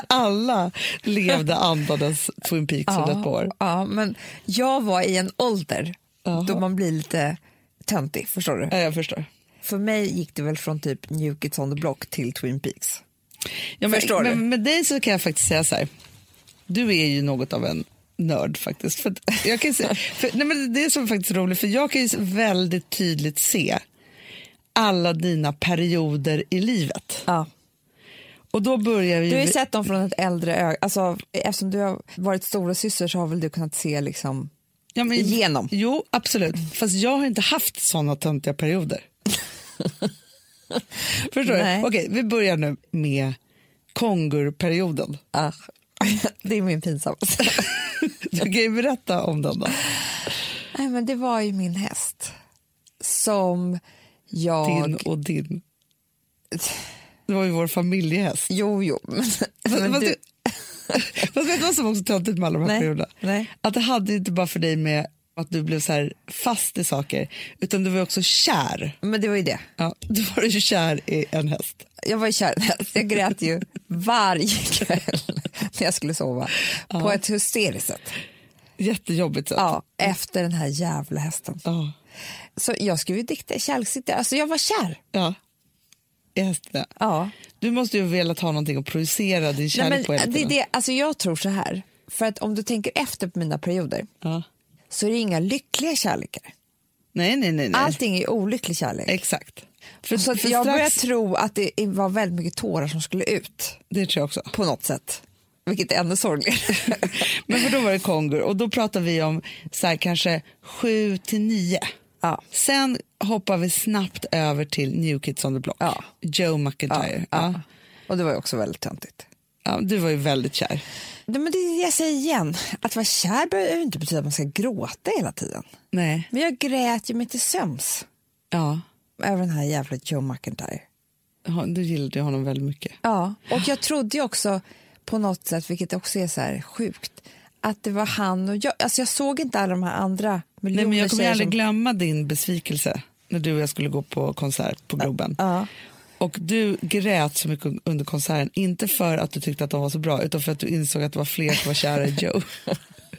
Speaker 1: Alla levde andades Twin Peaks under ett par år.
Speaker 2: Ja, men jag var i en ålder
Speaker 1: Jaha.
Speaker 2: då man blir lite töntig, förstår du?
Speaker 1: Ja, jag förstår.
Speaker 2: För mig gick det väl från typ New Kids on the Block till Twin Peaks.
Speaker 1: Ja, men,
Speaker 2: Förstår du?
Speaker 1: men med dig så kan jag faktiskt säga så här. Du är ju något av en nörd faktiskt. För att jag kan ju se, för, nej, men det är så faktiskt roligt, för jag kan ju väldigt tydligt se alla dina perioder i livet.
Speaker 2: Ja.
Speaker 1: Och då börjar vi
Speaker 2: Du har ju
Speaker 1: vid-
Speaker 2: sett dem från ett äldre öga. Alltså, eftersom du har varit stora syster så har väl du kunnat se liksom...
Speaker 1: ja, men,
Speaker 2: igenom.
Speaker 1: Jo, absolut. Fast jag har inte haft såna töntiga perioder. Förstår
Speaker 2: Nej.
Speaker 1: du? Okej, vi börjar nu med kongurperioden.
Speaker 2: Ah. det är min pinsammaste.
Speaker 1: Du kan ju berätta om den då.
Speaker 2: Nej, men det var ju min häst som jag...
Speaker 1: Din och din. Det var ju vår familjehäst.
Speaker 2: Jo, jo. Men,
Speaker 1: Fast,
Speaker 2: men
Speaker 1: fast,
Speaker 2: du...
Speaker 1: fast vet du vad som också är töntigt med alla de här
Speaker 2: Nej,
Speaker 1: perioderna?
Speaker 2: nej.
Speaker 1: Att det hade ju inte bara för dig med att du blev så här fast i saker, utan du var ju också kär.
Speaker 2: men det var ju det.
Speaker 1: Ja, du var ju kär i en häst.
Speaker 2: jag var ju kär i en häst. Jag grät ju varje kväll när jag skulle sova. På ett hysteriskt sätt.
Speaker 1: Jättejobbigt sätt.
Speaker 2: Ja, efter den här jävla hästen.
Speaker 1: Ja.
Speaker 2: Så jag skrev ju dikter, kärleksdikter. Alltså jag var kär.
Speaker 1: ja. I hästen, ja.
Speaker 2: Ja.
Speaker 1: Du måste ju ha velat ha någonting att projicera din
Speaker 2: Nej,
Speaker 1: kärlek
Speaker 2: men
Speaker 1: på hela
Speaker 2: det är
Speaker 1: tiden.
Speaker 2: det, alltså jag tror så här. För att om du tänker efter på mina perioder
Speaker 1: Ja.
Speaker 2: så är det inga lyckliga kärlekar.
Speaker 1: Nej, nej, nej. nej.
Speaker 2: Allting är ju olycklig kärlek.
Speaker 1: Exakt. För,
Speaker 2: Alltså, Så att
Speaker 1: för
Speaker 2: jag
Speaker 1: strax,
Speaker 2: börjar tro att det var väldigt mycket tårar som skulle ut
Speaker 1: Det tror jag också.
Speaker 2: på något sätt. Vilket är ännu sorgligare.
Speaker 1: Men för då var det kongur och då pratar vi om så här, kanske 7 till 9.
Speaker 2: Ja.
Speaker 1: Sen hoppar vi snabbt över till New Kids on the Block.
Speaker 2: Ja.
Speaker 1: Joe McIntyre. Ja, ja.
Speaker 2: Och det var ju också väldigt töntigt.
Speaker 1: du var ju väldigt kär.
Speaker 2: Nej, men det är det jag säger igen. Att vara kär behöver ju inte betyda att man ska gråta hela tiden.
Speaker 1: Nej.
Speaker 2: Men jag grät ju mig till sömns
Speaker 1: Ja.
Speaker 2: över den här jävla Joe McIntyre.
Speaker 1: Ja, Du gillade ju honom väldigt mycket.
Speaker 2: Ja. Och jag trodde ju också på något sätt, vilket också är så här sjukt, att det var han och jag. Alltså jag såg inte alla de här andra
Speaker 1: Nej,
Speaker 2: miljoner
Speaker 1: men jag kommer
Speaker 2: tjejer
Speaker 1: aldrig
Speaker 2: som-
Speaker 1: glömma din besvikelse när du och jag skulle gå på konsert på Globen.
Speaker 2: Ja.
Speaker 1: Och du grät så mycket under konserten, inte för att du tyckte att de var så bra utan för att du insåg att det var fler som var kära i Joe.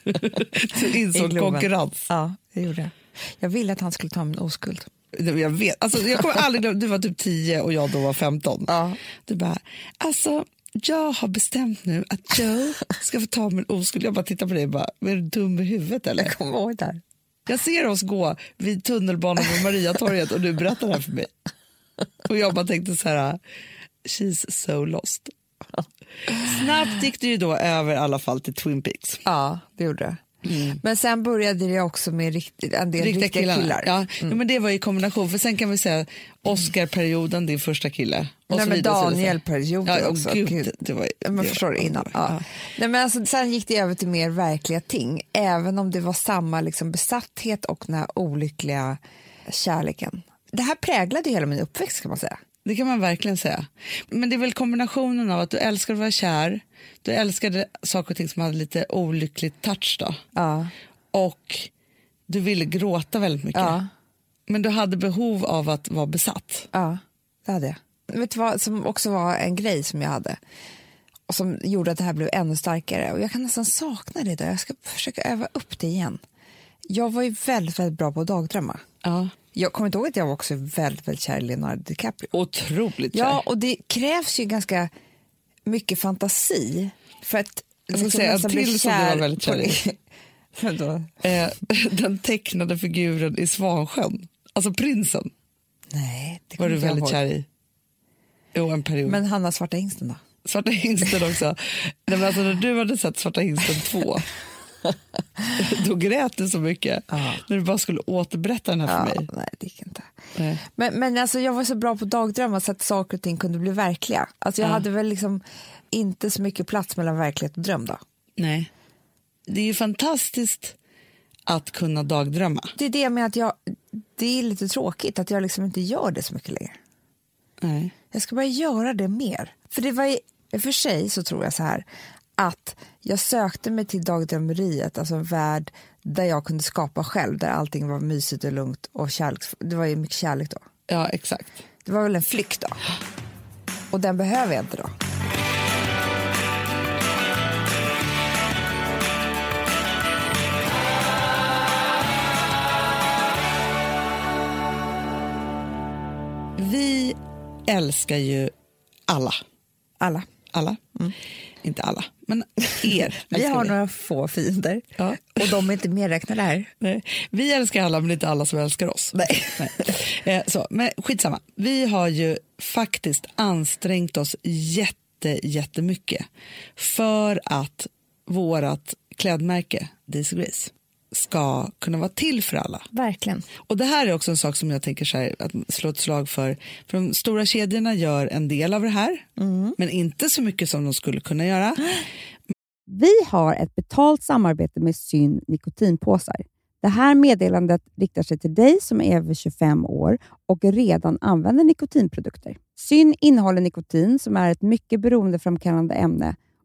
Speaker 1: du
Speaker 2: I
Speaker 1: insåg
Speaker 2: Globen.
Speaker 1: konkurrens.
Speaker 2: Ja, det gjorde jag. Jag ville att han skulle ta min oskuld.
Speaker 1: Nej, men Jag vet, alltså, jag kommer aldrig glömma, du var typ 10 och jag då var 15.
Speaker 2: Ja.
Speaker 1: Du bara, alltså jag har bestämt nu att Joe ska få ta min oskuld. Jag bara tittar på dig och bara, "Men är du dum i huvudet eller?
Speaker 2: Jag kommer ihåg det här.
Speaker 1: Jag ser oss gå vid tunnelbanan på Mariatorget och du berättar det här för mig. Och jag bara tänkte så här, she's so lost. Snabbt gick du ju då över i alla fall till Twin Peaks.
Speaker 2: Ja, det gjorde jag. Men sen började jag också med rikt- en del Mm. riktiga, killar. Mm.
Speaker 1: Ja. Jo, men det var i kombination, för sen kan vi säga Oscar-perioden, din första kille. Och
Speaker 2: Nej,
Speaker 1: så
Speaker 2: men
Speaker 1: vidare, så vidare.
Speaker 2: Daniel-perioden
Speaker 1: ja, åh,
Speaker 2: också.
Speaker 1: Gud,
Speaker 2: Gud.
Speaker 1: det- Det var, ju-
Speaker 2: Ja,
Speaker 1: det
Speaker 2: Man förstår
Speaker 1: var-
Speaker 2: det innan.
Speaker 1: Ja.
Speaker 2: Ja. Nej, men alltså, sen gick det över till mer verkliga ting, även om det var samma liksom, besatthet och den här olyckliga kärleken. Det här präglade ju hela min uppväxt kan man säga.
Speaker 1: Det kan man verkligen säga. Men det är väl kombinationen av att du älskade att vara kär, du älskade saker och ting som hade lite olycklig touch då.
Speaker 2: Ja.
Speaker 1: Och du ville gråta väldigt mycket.
Speaker 2: Ja.
Speaker 1: Men du hade behov av att vara besatt.
Speaker 2: Ja, det hade jag. Vet du vad som också var en grej som jag hade och som gjorde att det här blev ännu starkare och jag kan nästan sakna det idag. Jag ska försöka öva upp det igen. Jag var ju väldigt, väldigt bra på att dagdrömma.
Speaker 1: Ja.
Speaker 2: Jag kommer inte ihåg att jag var också väldigt, väldigt kär i Leonardo DiCaprio.
Speaker 1: Otroligt kär.
Speaker 2: Ja, och det krävs ju ganska mycket fantasi för att liksom
Speaker 1: Jag ska säga en
Speaker 2: nästan bli
Speaker 1: till som du var väldigt kär i.
Speaker 2: på- Vadå?
Speaker 1: Eh, den tecknade figuren i Svansjön, alltså prinsen,
Speaker 2: Nej, det
Speaker 1: var
Speaker 2: kommer
Speaker 1: du
Speaker 2: inte jag
Speaker 1: väldigt
Speaker 2: ihåg.
Speaker 1: kär i. Jo, en period.
Speaker 2: Men Hanna Svarta Hingsten då?
Speaker 1: Svarta hingsten också. Nej, men alltså, när du hade sett Svarta hingsten 2 då grät du så mycket när du bara skulle återberätta den här för mig.
Speaker 2: nej, det gick inte.
Speaker 1: Nej.
Speaker 2: Men, men alltså, jag var så bra på dagdrömmar så att saker och ting kunde bli verkliga. Alltså, jag hade väl liksom inte så mycket plats mellan verklighet och dröm. Då.
Speaker 1: Nej. Det är ju fantastiskt att kunna dagdrömma.
Speaker 2: Det är det med att jag, det är lite tråkigt att jag liksom inte gör det så mycket längre.
Speaker 1: Nej.
Speaker 2: Jag ska bara göra det mer. För det var i, i och för sig så tror jag så här att jag sökte mig till dagdrömmeriet, alltså en värld där jag kunde skapa själv, där allting var mysigt och lugnt och kärlek. Det var ju mycket kärlek då.
Speaker 1: Ja, exakt.
Speaker 2: Det var väl en flykt då. Och den behöver jag inte då.
Speaker 1: Vi älskar ju alla.
Speaker 2: Alla.
Speaker 1: Alla. Inte alla, men er.
Speaker 2: Vi
Speaker 1: älskar
Speaker 2: har några få fiender
Speaker 1: Ja.
Speaker 2: och de är inte medräknade här.
Speaker 1: Nej. Vi älskar alla, men inte alla som älskar oss. Nej. Eh, så, men skitsamma. Vi har ju faktiskt ansträngt oss jätte, jättemycket för att vårt klädmärke, Daisy Grace, ska kunna vara till för alla.
Speaker 2: Verkligen.
Speaker 1: Och det här är också en sak som jag tänker så här, att slå ett slag för. För de stora kedjorna gör en del av det här, men inte så mycket som de skulle kunna göra.
Speaker 3: Vi har ett betalt samarbete med Syn nikotinpåsar. Det här meddelandet riktar sig till dig som är över 25 år och redan använder nikotinprodukter. Syn innehåller nikotin som är ett mycket beroendeframkallande ämne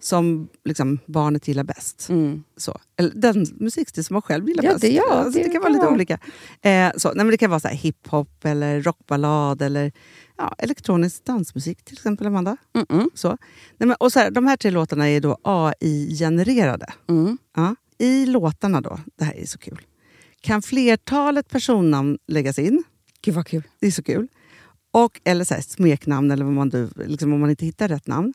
Speaker 4: som liksom, barnet gillar bäst.
Speaker 2: Mm.
Speaker 4: Så. Eller den musikstil som man själv gillar
Speaker 3: Ja,
Speaker 4: bäst.
Speaker 3: det- ja,
Speaker 4: alltså, det,
Speaker 3: det
Speaker 4: kan vara lite
Speaker 3: kan
Speaker 4: olika. Eh, så. Nej, men det kan vara så här hiphop, eller rockballad eller ja, elektronisk dansmusik till exempel, Amanda. Så. Nej, men, och så här, de här tre låtarna är då AI-genererade.
Speaker 3: Mm.
Speaker 4: Ja. I låtarna då, det här är så kul, kan flertalet personnamn läggas in.
Speaker 3: Gud vad kul.
Speaker 4: Det är så kul. Och, eller så här, smeknamn, eller vad man, du- liksom, om man inte hittar rätt namn.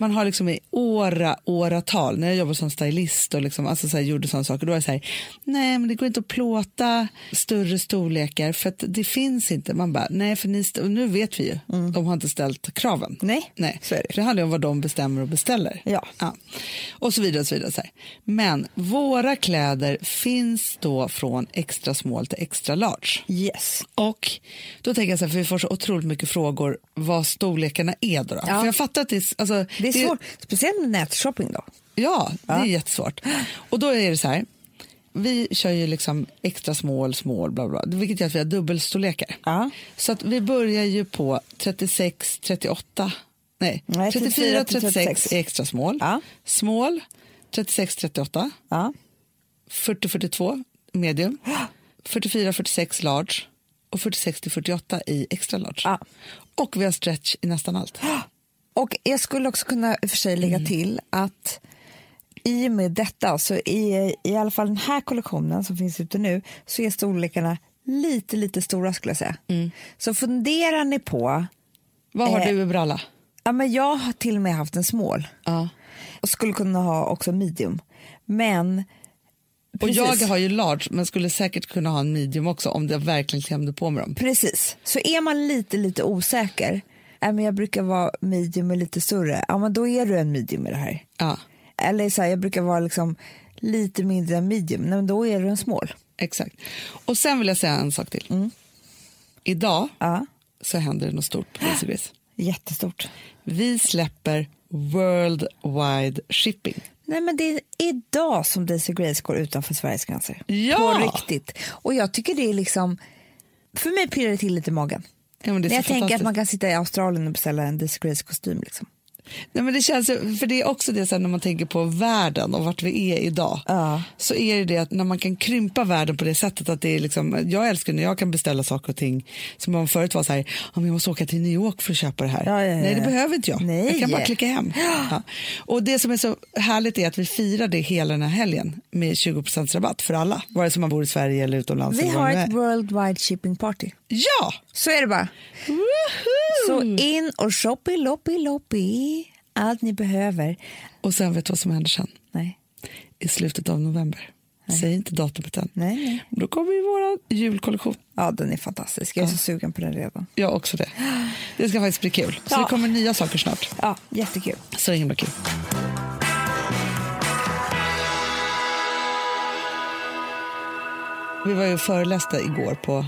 Speaker 1: Man har liksom i åra, åratal, när jag jobbade som stylist och liksom, alltså så här, gjorde sådana saker, då var det så här, nej men det går inte att plåta större storlekar för att det finns inte. Man bara, nej för ni, st- och nu vet vi ju, de har inte ställt kraven.
Speaker 2: Mm. Nej,
Speaker 1: nej.
Speaker 2: så är det.
Speaker 1: För det handlar ju om vad de bestämmer och beställer.
Speaker 2: Ja.
Speaker 1: Och så vidare, och så vidare. Så här. Men våra kläder finns då från extra small till extra large.
Speaker 2: Yes.
Speaker 1: Och då tänker jag så här, för vi får så otroligt mycket frågor vad storlekarna är då. då.
Speaker 2: Ja.
Speaker 1: För jag fattar att det, är- alltså,
Speaker 2: Det är svårt, speciellt med nätshopping då.
Speaker 1: Ja, det är jättesvårt. Och då är det så här, vi kör ju liksom extra small, small, bla bla, vilket gör att vi har dubbelstorlekar.
Speaker 2: Ja.
Speaker 1: Så att vi börjar ju på 36, 38, nej,
Speaker 2: Nej,
Speaker 1: 34,
Speaker 2: 36
Speaker 1: 36, är extra small.
Speaker 2: Ja.
Speaker 1: Small, 36, 38,
Speaker 2: Ja.
Speaker 1: 40, 42 medium, 44, 46 large och 46 till 48 i extra large.
Speaker 2: Ja.
Speaker 1: Och vi har stretch i nästan allt.
Speaker 2: Och jag skulle också kunna i och för sig lägga
Speaker 1: Mm.
Speaker 2: till att i och med detta, så i, i alla fall den här kollektionen som finns ute nu, så är storlekarna lite, lite stora skulle jag säga.
Speaker 1: Mm.
Speaker 2: Så funderar ni på,
Speaker 1: Vad har
Speaker 2: Eh.
Speaker 1: du i bralla?
Speaker 2: ja men jag har till och med haft en small
Speaker 1: Ja.
Speaker 2: och skulle kunna ha också medium, men
Speaker 1: Och jag
Speaker 2: precis.
Speaker 1: har ju large men skulle säkert kunna ha en medium också om jag verkligen klämde på mig dem.
Speaker 2: Precis, så är man lite lite osäker, äh, men jag brukar vara medium och lite större, ja men då är du en medium i det här.
Speaker 1: Ja,
Speaker 2: Eller så här, jag brukar vara liksom lite mindre än medium, Nej, men då är du en small.
Speaker 1: exakt. Och sen vill jag säga en sak till. Idag
Speaker 2: Mm. Ja.
Speaker 1: så händer det något stort på Easybiz.
Speaker 2: Jättestort.
Speaker 1: Vi släpper worldwide shipping.
Speaker 2: Nej, men det är idag som Daisy Grace går utanför Sveriges gränser.
Speaker 1: Ja!
Speaker 2: På riktigt. Och jag tycker det är liksom, för mig pirrar det till lite i magen.
Speaker 1: Ja, men det är så
Speaker 2: När jag tänker att
Speaker 1: fantastiskt.
Speaker 2: man kan sitta i Australien och beställa en Daisy Grace-kostym. Liksom.
Speaker 1: Nej, men det känns, ju- för det är också det sen när man tänker på världen och vart vi är idag.
Speaker 2: Ja.
Speaker 1: Så är det det att när man kan krympa världen på det sättet att det är liksom, jag älskar när jag kan beställa saker och ting som om förut var så här, om jag måste åka till New York för att köpa det här.
Speaker 2: Ja, ja, ja,
Speaker 1: Nej, det
Speaker 2: ja.
Speaker 1: behöver inte jag.
Speaker 2: Nej.
Speaker 1: Jag kan bara klicka hem. Ja. Och det som är så härligt är att vi firar det hela den här helgen med 20 rabatt för alla, vare sig man bor i Sverige eller utomlands.
Speaker 2: Vi
Speaker 1: eller vad
Speaker 2: har
Speaker 1: det nu
Speaker 2: ett
Speaker 1: är.
Speaker 2: worldwide shipping party.
Speaker 1: Ja!
Speaker 2: Så är det bara. Så in och shoppy, loppy, loppy. Allt ni behöver.
Speaker 1: Och sen vet du vad som händer sen?
Speaker 2: Nej.
Speaker 1: I slutet av november. Säg inte datumet än.
Speaker 2: Nej, nej.
Speaker 1: Då kommer ju vår julkollektion.
Speaker 2: Ja, den är fantastisk. Jag är så sugen på den redan.
Speaker 1: Jag också det. Det ska faktiskt bli kul. Så
Speaker 2: Ja.
Speaker 1: det kommer nya saker snart.
Speaker 2: Ja, jättekul.
Speaker 1: Så det är himla kul. Vi var ju och föreläste igår på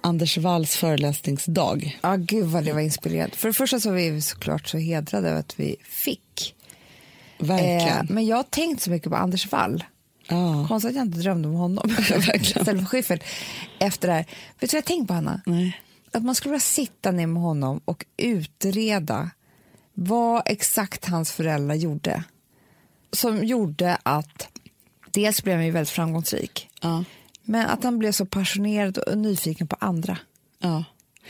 Speaker 1: Anders Walls föreläsningsdag.
Speaker 2: Ja, gud vad det var inspirerande. För det första så var vi såklart så hedrade över att vi fick. Eh,
Speaker 1: Verkligen.
Speaker 2: men jag har tänkt så mycket på Anders Wall.
Speaker 1: Ja.
Speaker 2: Konstigt att jag inte drömde om honom istället för Schyffert. Efter det här. Vet du vad jag tänkt på, Hanna?
Speaker 1: Nej.
Speaker 2: Att man skulle vilja sitta ner med honom och utreda vad exakt hans föräldrar gjorde. Som gjorde att dels blev han ju väldigt framgångsrik.
Speaker 1: Ja.
Speaker 2: Men att han blev så passionerad och nyfiken på andra.
Speaker 1: ja.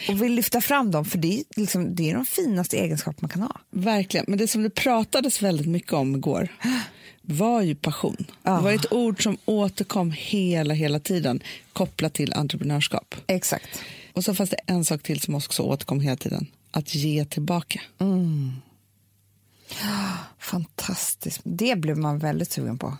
Speaker 2: Och vill lyfta fram dem, för det är, liksom, det är de finaste egenskaper man kan ha.
Speaker 1: Verkligen. Men det som det pratades väldigt mycket om igår var ju passion. Det
Speaker 2: Ah.
Speaker 1: var ett ord som återkom hela, hela tiden kopplat till entreprenörskap.
Speaker 2: Exakt.
Speaker 1: Och så fanns det en sak till som också återkom hela tiden. Att ge tillbaka.
Speaker 2: Fantastiskt. Det blev man väldigt sugen på.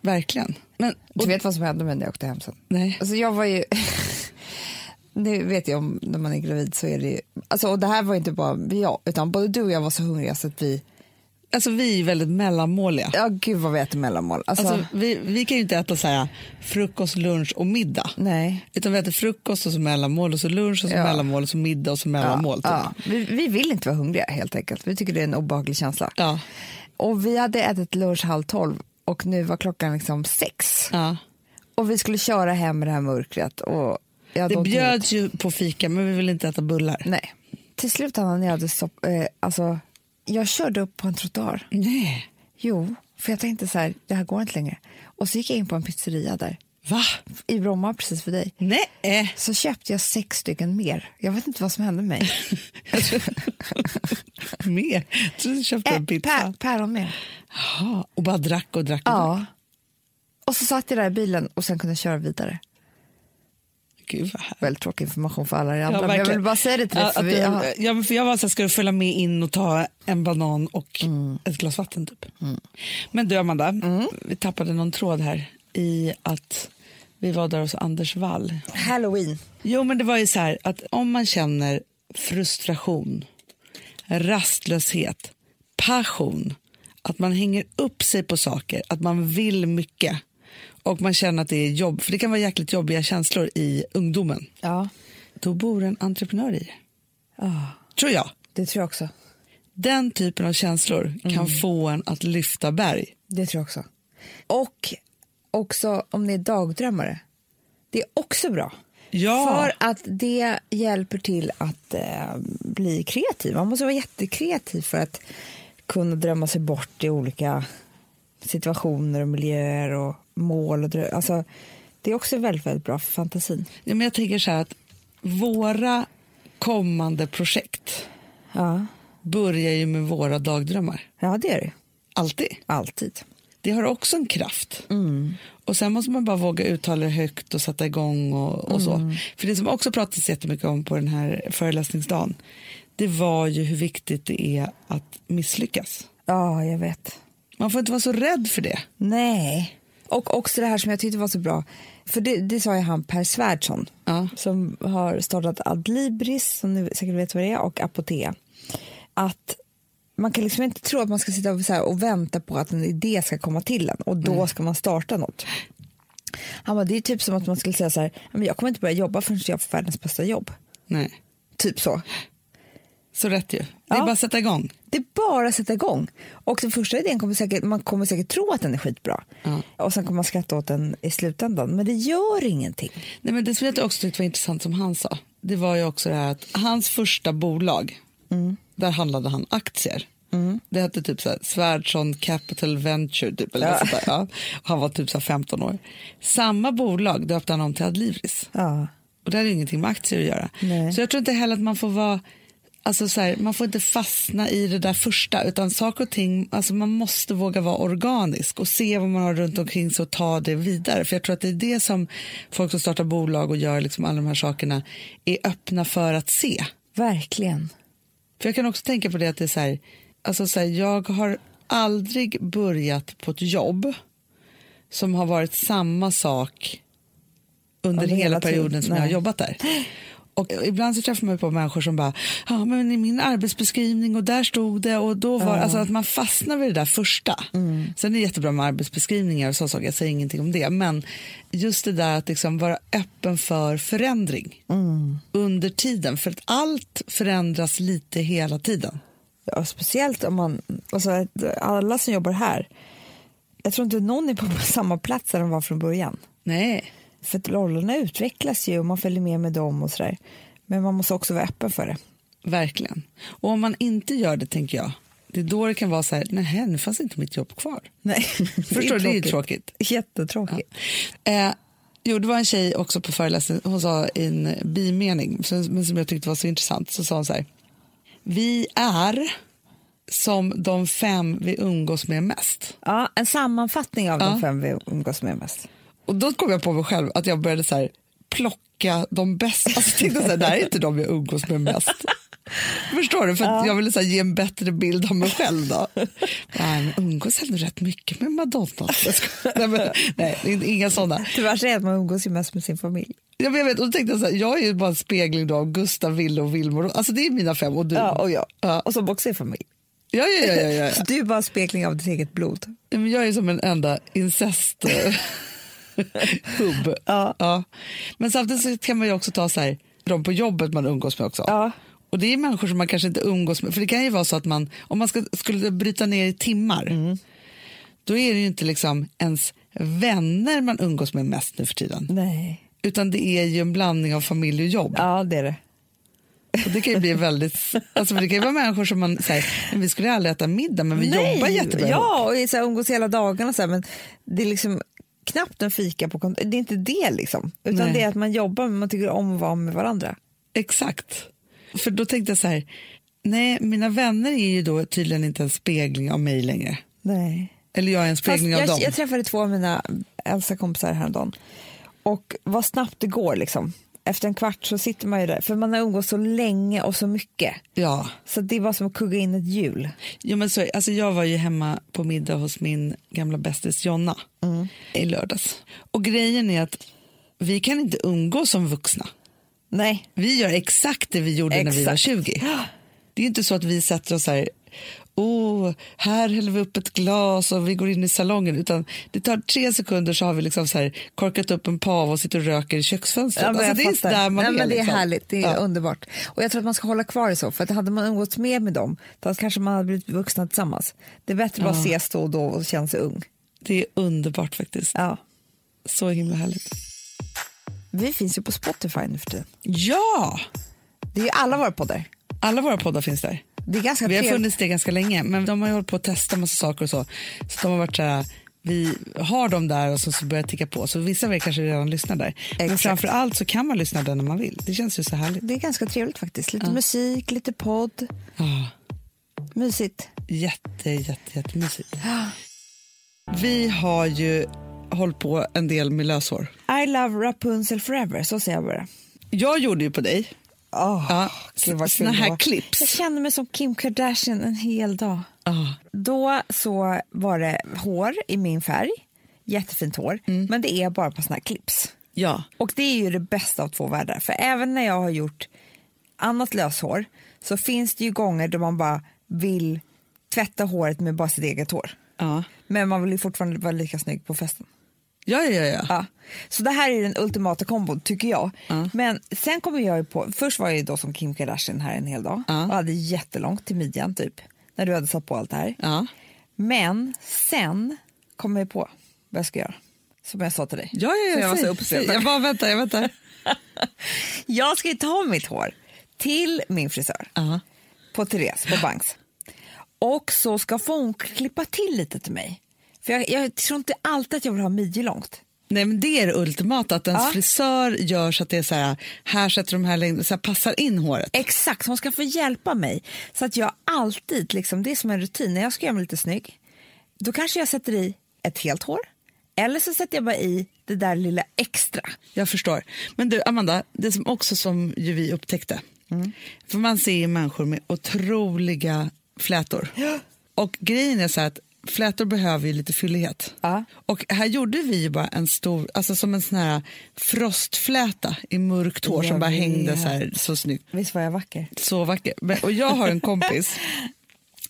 Speaker 1: Verkligen. Men,
Speaker 2: Du vet vad som hände med när jag åkte hem sen?
Speaker 1: Nej.
Speaker 2: Alltså jag var ju... nu vet jag om när man är gravid så är det ju... Alltså, och det här var inte bara jag, utan både du och jag var så hungriga så att vi...
Speaker 1: Alltså vi är väldigt mellanmåliga.
Speaker 2: Ja, gud vad vi äter mellanmål. Alltså,
Speaker 1: Alltså, vi, vi kan ju inte äta så här, frukost, lunch och middag.
Speaker 2: nej.
Speaker 1: Utan vi äter frukost och så mellanmål och så lunch och så
Speaker 2: Ja.
Speaker 1: mellanmål och så middag och så mellanmål. typ.
Speaker 2: Ja, vi, vi vill inte vara hungriga helt enkelt. Vi tycker det är en obehaglig känsla.
Speaker 1: Ja.
Speaker 2: Och vi hade ätit lunch halv tolv och nu var klockan liksom sex.
Speaker 1: Ja.
Speaker 2: Och vi skulle köra hem i det här mörkret. Och jag
Speaker 1: Det
Speaker 2: hade ont i huvudet.
Speaker 1: bjöds ju på fika men vi vill inte äta bullar.
Speaker 2: Nej. Till slut Anna, när jag hade stopp, eh, alltså, jag körde upp på en trottoar.
Speaker 1: Nej.
Speaker 2: Jo, för jag tänkte så här, det här går inte längre. Och så gick jag in på en pizzeria där,
Speaker 1: Va?
Speaker 2: i Bromma precis för dig.
Speaker 1: Nej.
Speaker 2: Så köpte jag sex stycken mer. Jag vet inte vad som hände med mig.
Speaker 1: Mer? Jag trodde du köpte en
Speaker 2: Eh,
Speaker 1: pizza. Mm.
Speaker 2: pär, päron mer.
Speaker 1: Jaha, Och bara drack och drack. Och drack.
Speaker 2: Ja. Och så satt jag där i bilen och sen kunde jag köra vidare.
Speaker 1: Gud vad härligt.
Speaker 2: Väldigt tråkig information för alla er andra.
Speaker 1: Ja,
Speaker 2: men jag
Speaker 1: verkligen.
Speaker 2: vill bara säga det till dig.
Speaker 1: Ja,
Speaker 2: för
Speaker 1: att
Speaker 2: vi,
Speaker 1: du-
Speaker 2: ja.
Speaker 1: ja, men för jag var så här, ska du följa med in och ta en banan och
Speaker 2: Mm.
Speaker 1: ett glas vatten typ. Men du Amanda, vi tappade någon tråd här i att vi var där hos Anders Wall.
Speaker 2: Halloween.
Speaker 1: Jo men det var ju så här att om man känner frustration, rastlöshet, passion, att man hänger upp sig på saker, att man vill mycket och man känner att det är jobb, för det kan vara jäkligt jobbiga känslor i ungdomen,
Speaker 2: Ja.
Speaker 1: då bor en entreprenör i det. Tror jag.
Speaker 2: det tror jag också.
Speaker 1: Den typen av känslor kan få en att lyfta berg.
Speaker 2: Det tror jag också. Och också om ni är dagdrömmare. Det är också bra.
Speaker 1: Ja.
Speaker 2: För att det hjälper till att eh, bli kreativ. Man måste vara jättekreativ för att kunna drömma sig bort i olika situationer och miljöer och mål. Och drö- alltså, det är också väldigt, väldigt bra för fantasin.
Speaker 1: Ja, men jag tänker så här att våra kommande projekt
Speaker 2: Ja,
Speaker 1: börjar ju med våra dagdrömmar.
Speaker 2: ja det är det.
Speaker 1: Alltid.
Speaker 2: Alltid.
Speaker 1: Det har också en kraft. Och sen måste man bara våga uttala det högt och sätta igång och, och så. För det som också pratades jättemycket om på den här föreläsningsdagen, det var ju hur viktigt det är att misslyckas.
Speaker 2: Ja, jag vet.
Speaker 1: Man får inte vara så rädd för det.
Speaker 2: Nej. Och också det här som jag tyckte var så bra. För det, det sa ju han Per Svärdson.
Speaker 1: Ja.
Speaker 2: Som har startat Adlibris, som ni säkert vet vad det är, och Apotea. Att man kan liksom inte tro att man ska sitta och, så här och vänta på att en idé ska komma till en och då ska man starta något. Han bara, det är typ som att man skulle säga så här, "Men jag kommer inte börja jobba förrän jag får världens bästa jobb.
Speaker 1: Nej.
Speaker 2: Typ så.
Speaker 1: Så rätt ju. Det är
Speaker 2: Ja.
Speaker 1: bara att sätta igång.
Speaker 2: Det är bara att sätta igång. Och den första idén kommer säkert, man kommer säkert tro att den är skitbra. Och sen kommer man skratta åt den i slutändan. Men det gör ingenting.
Speaker 1: Nej, men det som jag också tyckte var intressant som han sa, det var ju också det här att hans första bolag, där handlade han aktier. Det hette typ så här, Svärdsson Capital Venture, typ, eller något sånt där, ja. Och han var typ så här 15 år. Samma bolag döpte han om till Adlivris.
Speaker 2: Ja.
Speaker 1: Och det hade ju ingenting med aktier att göra.
Speaker 2: Nej.
Speaker 1: Så jag tror inte heller att man får vara Alltså så här, man får inte fastna i det där första, utan saker och ting, alltså man måste våga vara organisk och se vad man har runt omkring sig och ta det vidare. För jag tror att det är det som folk som startar bolag och gör liksom alla de här sakerna är öppna för att se.
Speaker 2: Verkligen.
Speaker 1: För jag kan också tänka på det att det är så här, alltså så här, jag har aldrig börjat på ett jobb som har varit samma sak under
Speaker 2: Under
Speaker 1: hela,
Speaker 2: hela tiden,
Speaker 1: perioden som jag har
Speaker 2: nej.
Speaker 1: jobbat där. Och ibland så träffar man ju på människor som bara, ja men i min arbetsbeskrivning och där stod det och då var alltså att man fastnar vid det där första.
Speaker 2: Mm.
Speaker 1: Sen är det jättebra med arbetsbeskrivningar och sådana saker, jag säger ingenting om det, men just det där att liksom vara öppen för förändring
Speaker 2: Mm.
Speaker 1: under tiden, för att allt förändras lite hela tiden.
Speaker 2: Ja, speciellt om man, alltså, att alla som jobbar här, jag tror inte någon är på samma plats där de var från början.
Speaker 1: Nej,
Speaker 2: För att rollerna utvecklas ju och man följer med med dem och sådär. Men man måste också vara öppen för det.
Speaker 1: verkligen. Och om man inte gör det, tänker jag, det är då det kan vara så här, nej, nu fanns inte mitt jobb kvar.
Speaker 2: Nej,
Speaker 1: Förstår du? Det är ju tråkigt.
Speaker 2: Jättetråkigt.
Speaker 1: Eh, jo, det var en tjej också på föreläsningen, hon sa i en bimening, som, men som jag tyckte var så intressant, så sa hon så här, vi är som de fem vi umgås med mest.
Speaker 2: Ja. en sammanfattning av de fem vi umgås med mest.
Speaker 1: Och då kom jag på mig själv att jag började så här, plocka de bästa, alltså jag tänkte så här, det här är inte de jag umgås med mest. Förstår du? För att jag ville så här, ge en bättre bild av mig själv då. Nej, men umgås ändå rätt mycket med Madonna. Jag skojar. Nej, men, nej, inga sådana.
Speaker 2: Tyvärr så är det att man umgås ju mest med sin familj.
Speaker 1: Ja, men jag vet, och då tänkte jag så här, jag är ju bara en spegling då av Gustav, Ville och Vilmor. Alltså det är mina fem och du.
Speaker 2: Mm. Ja, och jag.
Speaker 1: Ja.
Speaker 2: Och som också är familj.
Speaker 1: Ja, ja, ja, ja, ja.
Speaker 2: Så du är bara en spegling av ditt eget blod.
Speaker 1: Ja, men Jag är ju som en enda incest eh, hubb.
Speaker 2: Ja.
Speaker 1: Men samtidigt så kan man ju också ta så här, de på jobbet man umgås med också.
Speaker 2: Ja.
Speaker 1: Och det är människor som man kanske inte umgås med. För det kan ju vara så att man, om man ska, skulle bryta ner i timmar,
Speaker 2: Mm.
Speaker 1: då är det ju inte liksom ens vänner man umgås med mest nu för tiden.
Speaker 2: Nej.
Speaker 1: Utan det är ju en blandning av familj och jobb.
Speaker 2: Ja, det är det.
Speaker 1: Och det kan ju bli väldigt, alltså för det kan ju vara människor som man säger, "Men vi skulle aldrig äta middag men vi jobbar jättebra ihop."
Speaker 2: Ja, och är så här, umgås hela dagarna. Så här, men det är liksom knappt en fika på kontoret. Det är inte det liksom. Utan
Speaker 1: Nej.
Speaker 2: det är att man jobbar men man tycker om att vara med varandra.
Speaker 1: Exakt. För då tänkte jag så här, nej mina vänner är ju då tydligen inte en spegling av mig längre.
Speaker 2: Nej.
Speaker 1: Eller jag är en
Speaker 2: Fast
Speaker 1: spegling av
Speaker 2: jag,
Speaker 1: dem.
Speaker 2: jag träffade två av mina äldsta kompisar häromdagen. Och vad snabbt det går liksom. Efter en kvart så sitter man ju där. För man har umgås så länge och så mycket.
Speaker 1: Ja,
Speaker 2: Så det är bara som att kugga in ett hjul.
Speaker 1: jo, men så, är- alltså jag var ju hemma på middag hos min gamla bästis Jonna
Speaker 2: Mm.
Speaker 1: i lördags. Och grejen är att vi kan inte umgås som vuxna.
Speaker 2: Nej.
Speaker 1: Vi gör exakt det vi gjorde när vi var
Speaker 2: Exakt.
Speaker 1: 20. Det är ju inte så att vi sätter oss så här, oh, här häller vi upp ett glas och vi går in i salongen, utan det tar tre sekunder så har vi liksom så här korkat upp en pav och sitter och röker i köksfönstret.
Speaker 2: Ja, men
Speaker 1: alltså,
Speaker 2: jag
Speaker 1: det är
Speaker 2: fattar.
Speaker 1: där man
Speaker 2: Nej,
Speaker 1: är.
Speaker 2: men det är
Speaker 1: liksom.
Speaker 2: härligt, det är
Speaker 1: ja.
Speaker 2: underbart. Och jag tror att man ska hålla kvar i så, för att hade man umgåtts mer med dem, då kanske man hade blivit vuxna tillsammans. Det är bättre att bara ses då och då och känna sig ung.
Speaker 1: det är underbart faktiskt.
Speaker 2: Ja.
Speaker 1: Så himla härligt.
Speaker 2: Vi finns ju på Spotify nu för tiden.
Speaker 1: Ja,
Speaker 2: Det är ju alla våra poddar.
Speaker 1: alla våra poddar finns där.
Speaker 2: Det är ganska
Speaker 1: Vi har
Speaker 2: trevligt.
Speaker 1: funnits det ganska länge, men de har ju hållit på att testa massa saker och så. Så de har varit så här, vi har dem där och så, så börjar det ticka på. Så vissa av er kanske redan lyssnar där. Men
Speaker 2: Exakt.
Speaker 1: framför allt så kan man lyssna där när man vill. Det känns ju så härligt.
Speaker 2: Det är ganska trevligt faktiskt. Lite musik, lite podd.
Speaker 1: Ja,
Speaker 2: Mysigt.
Speaker 1: jätte, jätte, jättemysigt. Vi har ju hållit på en del med lösår.
Speaker 2: I love Rapunzel forever, så säger jag bara.
Speaker 1: Jag gjorde ju på dig.
Speaker 2: Oh,
Speaker 1: Ja, såna här clips.
Speaker 2: Jag kände mig som Kim Kardashian en hel dag.
Speaker 1: Ja.
Speaker 2: Då så var det hår i min färg, jättefint hår, men det är bara på såna här clips.
Speaker 1: Ja.
Speaker 2: Och det är ju det bästa av två världar, för även när jag har gjort annat löshår så finns det ju gånger då man bara vill tvätta håret med bara sitt eget hår.
Speaker 1: ja.
Speaker 2: Men man vill ju fortfarande vara lika snygg på festen.
Speaker 1: Ja, ja, ja.
Speaker 2: Ja. Så det här är den ultimata kombon tycker jag. Men sen kommer jag ju på, först var jag ju då som Kim Kardashian här en hel dag och hade jättelångt till midjan typ, när du hade satt på allt det här.
Speaker 1: Ja,
Speaker 2: Men sen kom jag på vad jag ska göra, som jag sa till dig.
Speaker 1: ja, ja, ja
Speaker 2: För jag var
Speaker 1: säg,
Speaker 2: så uppspelad.
Speaker 1: säg. Jag bara väntar, jag väntar.
Speaker 2: Jag ska ju ta mitt hår till min frisör
Speaker 1: Ja.
Speaker 2: på Therese på Banks. Och så ska få hon klippa till lite till mig. För jag, jag tror inte alltid att jag vill ha midjelångt.
Speaker 1: Nej, men det är det ultimata, att ens
Speaker 2: Ja.
Speaker 1: frisör gör så att det är så här, här sätter de här längden, så här passar in håret.
Speaker 2: Exakt, hon ska få hjälpa mig. Så att jag alltid, liksom, det är som en rutin, när jag ska göra mig lite snygg, då kanske jag sätter i ett helt hår. Eller så sätter jag bara i det där lilla extra.
Speaker 1: Jag förstår. Men du, Amanda, det som också som ju vi upptäckte.
Speaker 2: Mm.
Speaker 1: För man ser ju människor med otroliga flätor. Och grejen är så här att flätor behöver ju lite fyllighet.
Speaker 2: Ja.
Speaker 1: Och här gjorde vi ju bara en stor, alltså som en sån här frostfläta i mörkt hår som
Speaker 2: Jag
Speaker 1: bara
Speaker 2: vet.
Speaker 1: hängde så här så snyggt.
Speaker 2: Visst var jag vacker?
Speaker 1: Så vacker. Men- Och jag har en kompis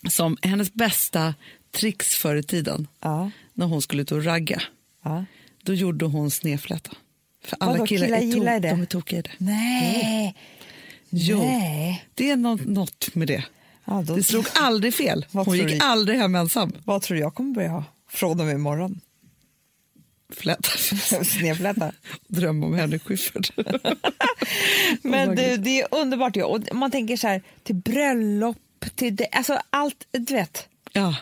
Speaker 1: som, hennes bästa tricks förr i tiden,
Speaker 2: Ja.
Speaker 1: när hon skulle ut och ragga,
Speaker 2: Ja.
Speaker 1: då gjorde hon snedfläta. För alla
Speaker 2: Vadå,
Speaker 1: killar,
Speaker 2: killar
Speaker 1: är,
Speaker 2: gillar
Speaker 1: to-
Speaker 2: det?
Speaker 1: De är tokiga i det.
Speaker 2: Nej.
Speaker 1: Jo,
Speaker 2: Nej.
Speaker 1: det är något, något med det.
Speaker 2: Ja, då-
Speaker 1: Det slog aldrig fel.
Speaker 2: Vad
Speaker 1: Hon
Speaker 2: tror
Speaker 1: gick
Speaker 2: du?
Speaker 1: aldrig hem ensam.
Speaker 2: Vad tror du jag kommer börja ha från och med imorgon?
Speaker 1: Fläta.
Speaker 2: Snedfläta.
Speaker 1: Dröm om Henrik Schyffert.
Speaker 2: Men du, det är underbart. Ja. Och man tänker så här, till bröllop, till det, alltså allt, du vet.
Speaker 1: ja.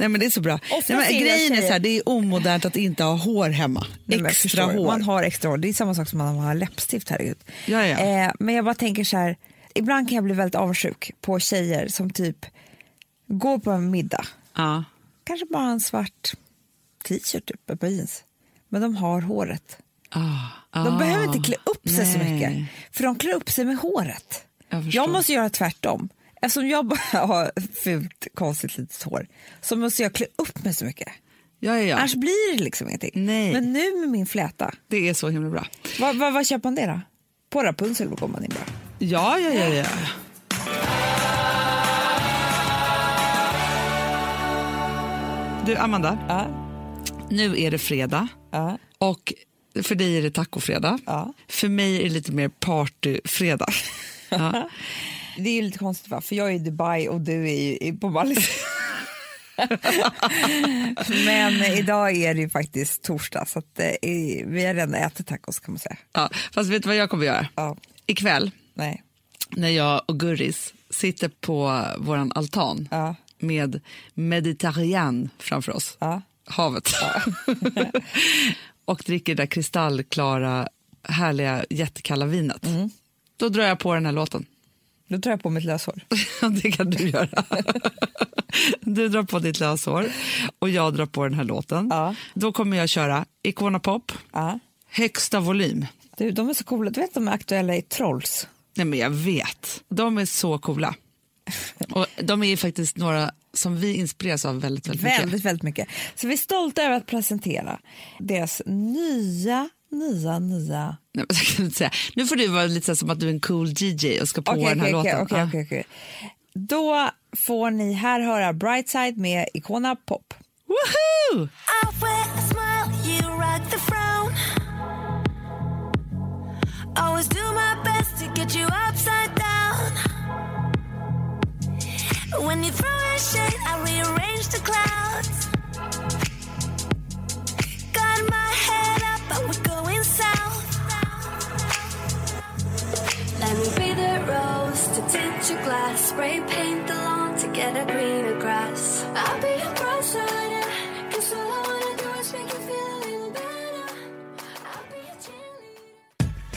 Speaker 1: Nej, men det är så bra.
Speaker 2: Ofta
Speaker 1: Nej,
Speaker 2: ser
Speaker 1: men
Speaker 2: jag
Speaker 1: grejen är
Speaker 2: tjejer-
Speaker 1: så här, det är omodernt att inte ha hår hemma.
Speaker 2: Nej, men jag
Speaker 1: Extra
Speaker 2: förstår.
Speaker 1: hår.
Speaker 2: Man har extra hår. Det är samma sak som man har läppstift. Herregud.
Speaker 1: Ja, ja.
Speaker 2: Eh, men jag bara tänker så här, ibland kan jag bli väldigt avundsjuk på tjejer som typ går på en middag,
Speaker 1: Ja.
Speaker 2: kanske bara en svart t-shirt typ, ett par jeans, men de har håret.
Speaker 1: Ah, ah.
Speaker 2: De behöver inte klä upp sig så
Speaker 1: Nej.
Speaker 2: mycket, för de klär upp sig med håret.
Speaker 1: Jag
Speaker 2: Jag,
Speaker 1: förstår.
Speaker 2: måste göra tvärtom. Eftersom jag bara har fult, konstigt litet hår så måste jag klä upp mig så mycket.
Speaker 1: Ja, ja, ja.
Speaker 2: Annars blir det liksom ingenting.
Speaker 1: Nej.
Speaker 2: Men nu med min fläta,
Speaker 1: Det är så himla bra.
Speaker 2: vad, vad, vad köper man det då? På Rapunzel går man in bra.
Speaker 1: Ja, ja, ja. ja. Du, Amanda.
Speaker 2: Ja,
Speaker 1: Nu är det fredag.
Speaker 2: ja,
Speaker 1: Och för dig är det tacofredag.
Speaker 2: Ja.
Speaker 1: För mig är det lite mer partyfredag. Ja.
Speaker 2: Det är ju lite konstigt va, för jag är i Dubai och du är ju i- på Bali. Men idag är det ju faktiskt torsdag så att, eh, i- vi har redan ätit tacos kan man säga.
Speaker 1: Ja. Fast vet du vad jag kommer göra?
Speaker 2: Ja,
Speaker 1: Ikväll
Speaker 2: nej,
Speaker 1: när jag och Gurris sitter på våran altan
Speaker 2: Ja.
Speaker 1: med Mediterranean framför oss,
Speaker 2: Ja.
Speaker 1: havet, och dricker det där kristallklara, härliga, jättekalla vinet.
Speaker 2: Mm.
Speaker 1: Då drar jag på den här låten.
Speaker 2: då tar jag på mitt löshår.
Speaker 1: Det kan du göra. Du drar på ditt löshår och jag drar på den här låten.
Speaker 2: Ja.
Speaker 1: Då kommer jag köra Icona Pop,
Speaker 2: Ja.
Speaker 1: högsta volym.
Speaker 2: Du, de är så coola. Du vet de är aktuella i Trolls?
Speaker 1: Nej, men jag vet. De är så coola. Och de är ju faktiskt några som vi inspireras av väldigt, väldigt, mycket.
Speaker 2: Väldigt, väldigt mycket. Så vi är stolta över att presentera deras nya, nya, nya...
Speaker 1: Nej, men så kan du inte säga. Nu får du vara lite så här som att du är en cool DJ och ska på den här
Speaker 2: okej,
Speaker 1: låten.
Speaker 2: okej,
Speaker 1: Ja.
Speaker 2: okej, okej. Då får ni här höra Brightside med Icona Pop.
Speaker 1: Woohoo!
Speaker 5: I wear a smile, you rock the frown. Always do my best to get you upside down. When you throw a shade, I rearrange the clouds. Got my head up, but we're going south. Let me be the rose to tint your glass. Spray paint the lawn to get a greener grass. I'll be your bright side, cause all I wanna do is make you feel a little better. I'll be your cheerleader.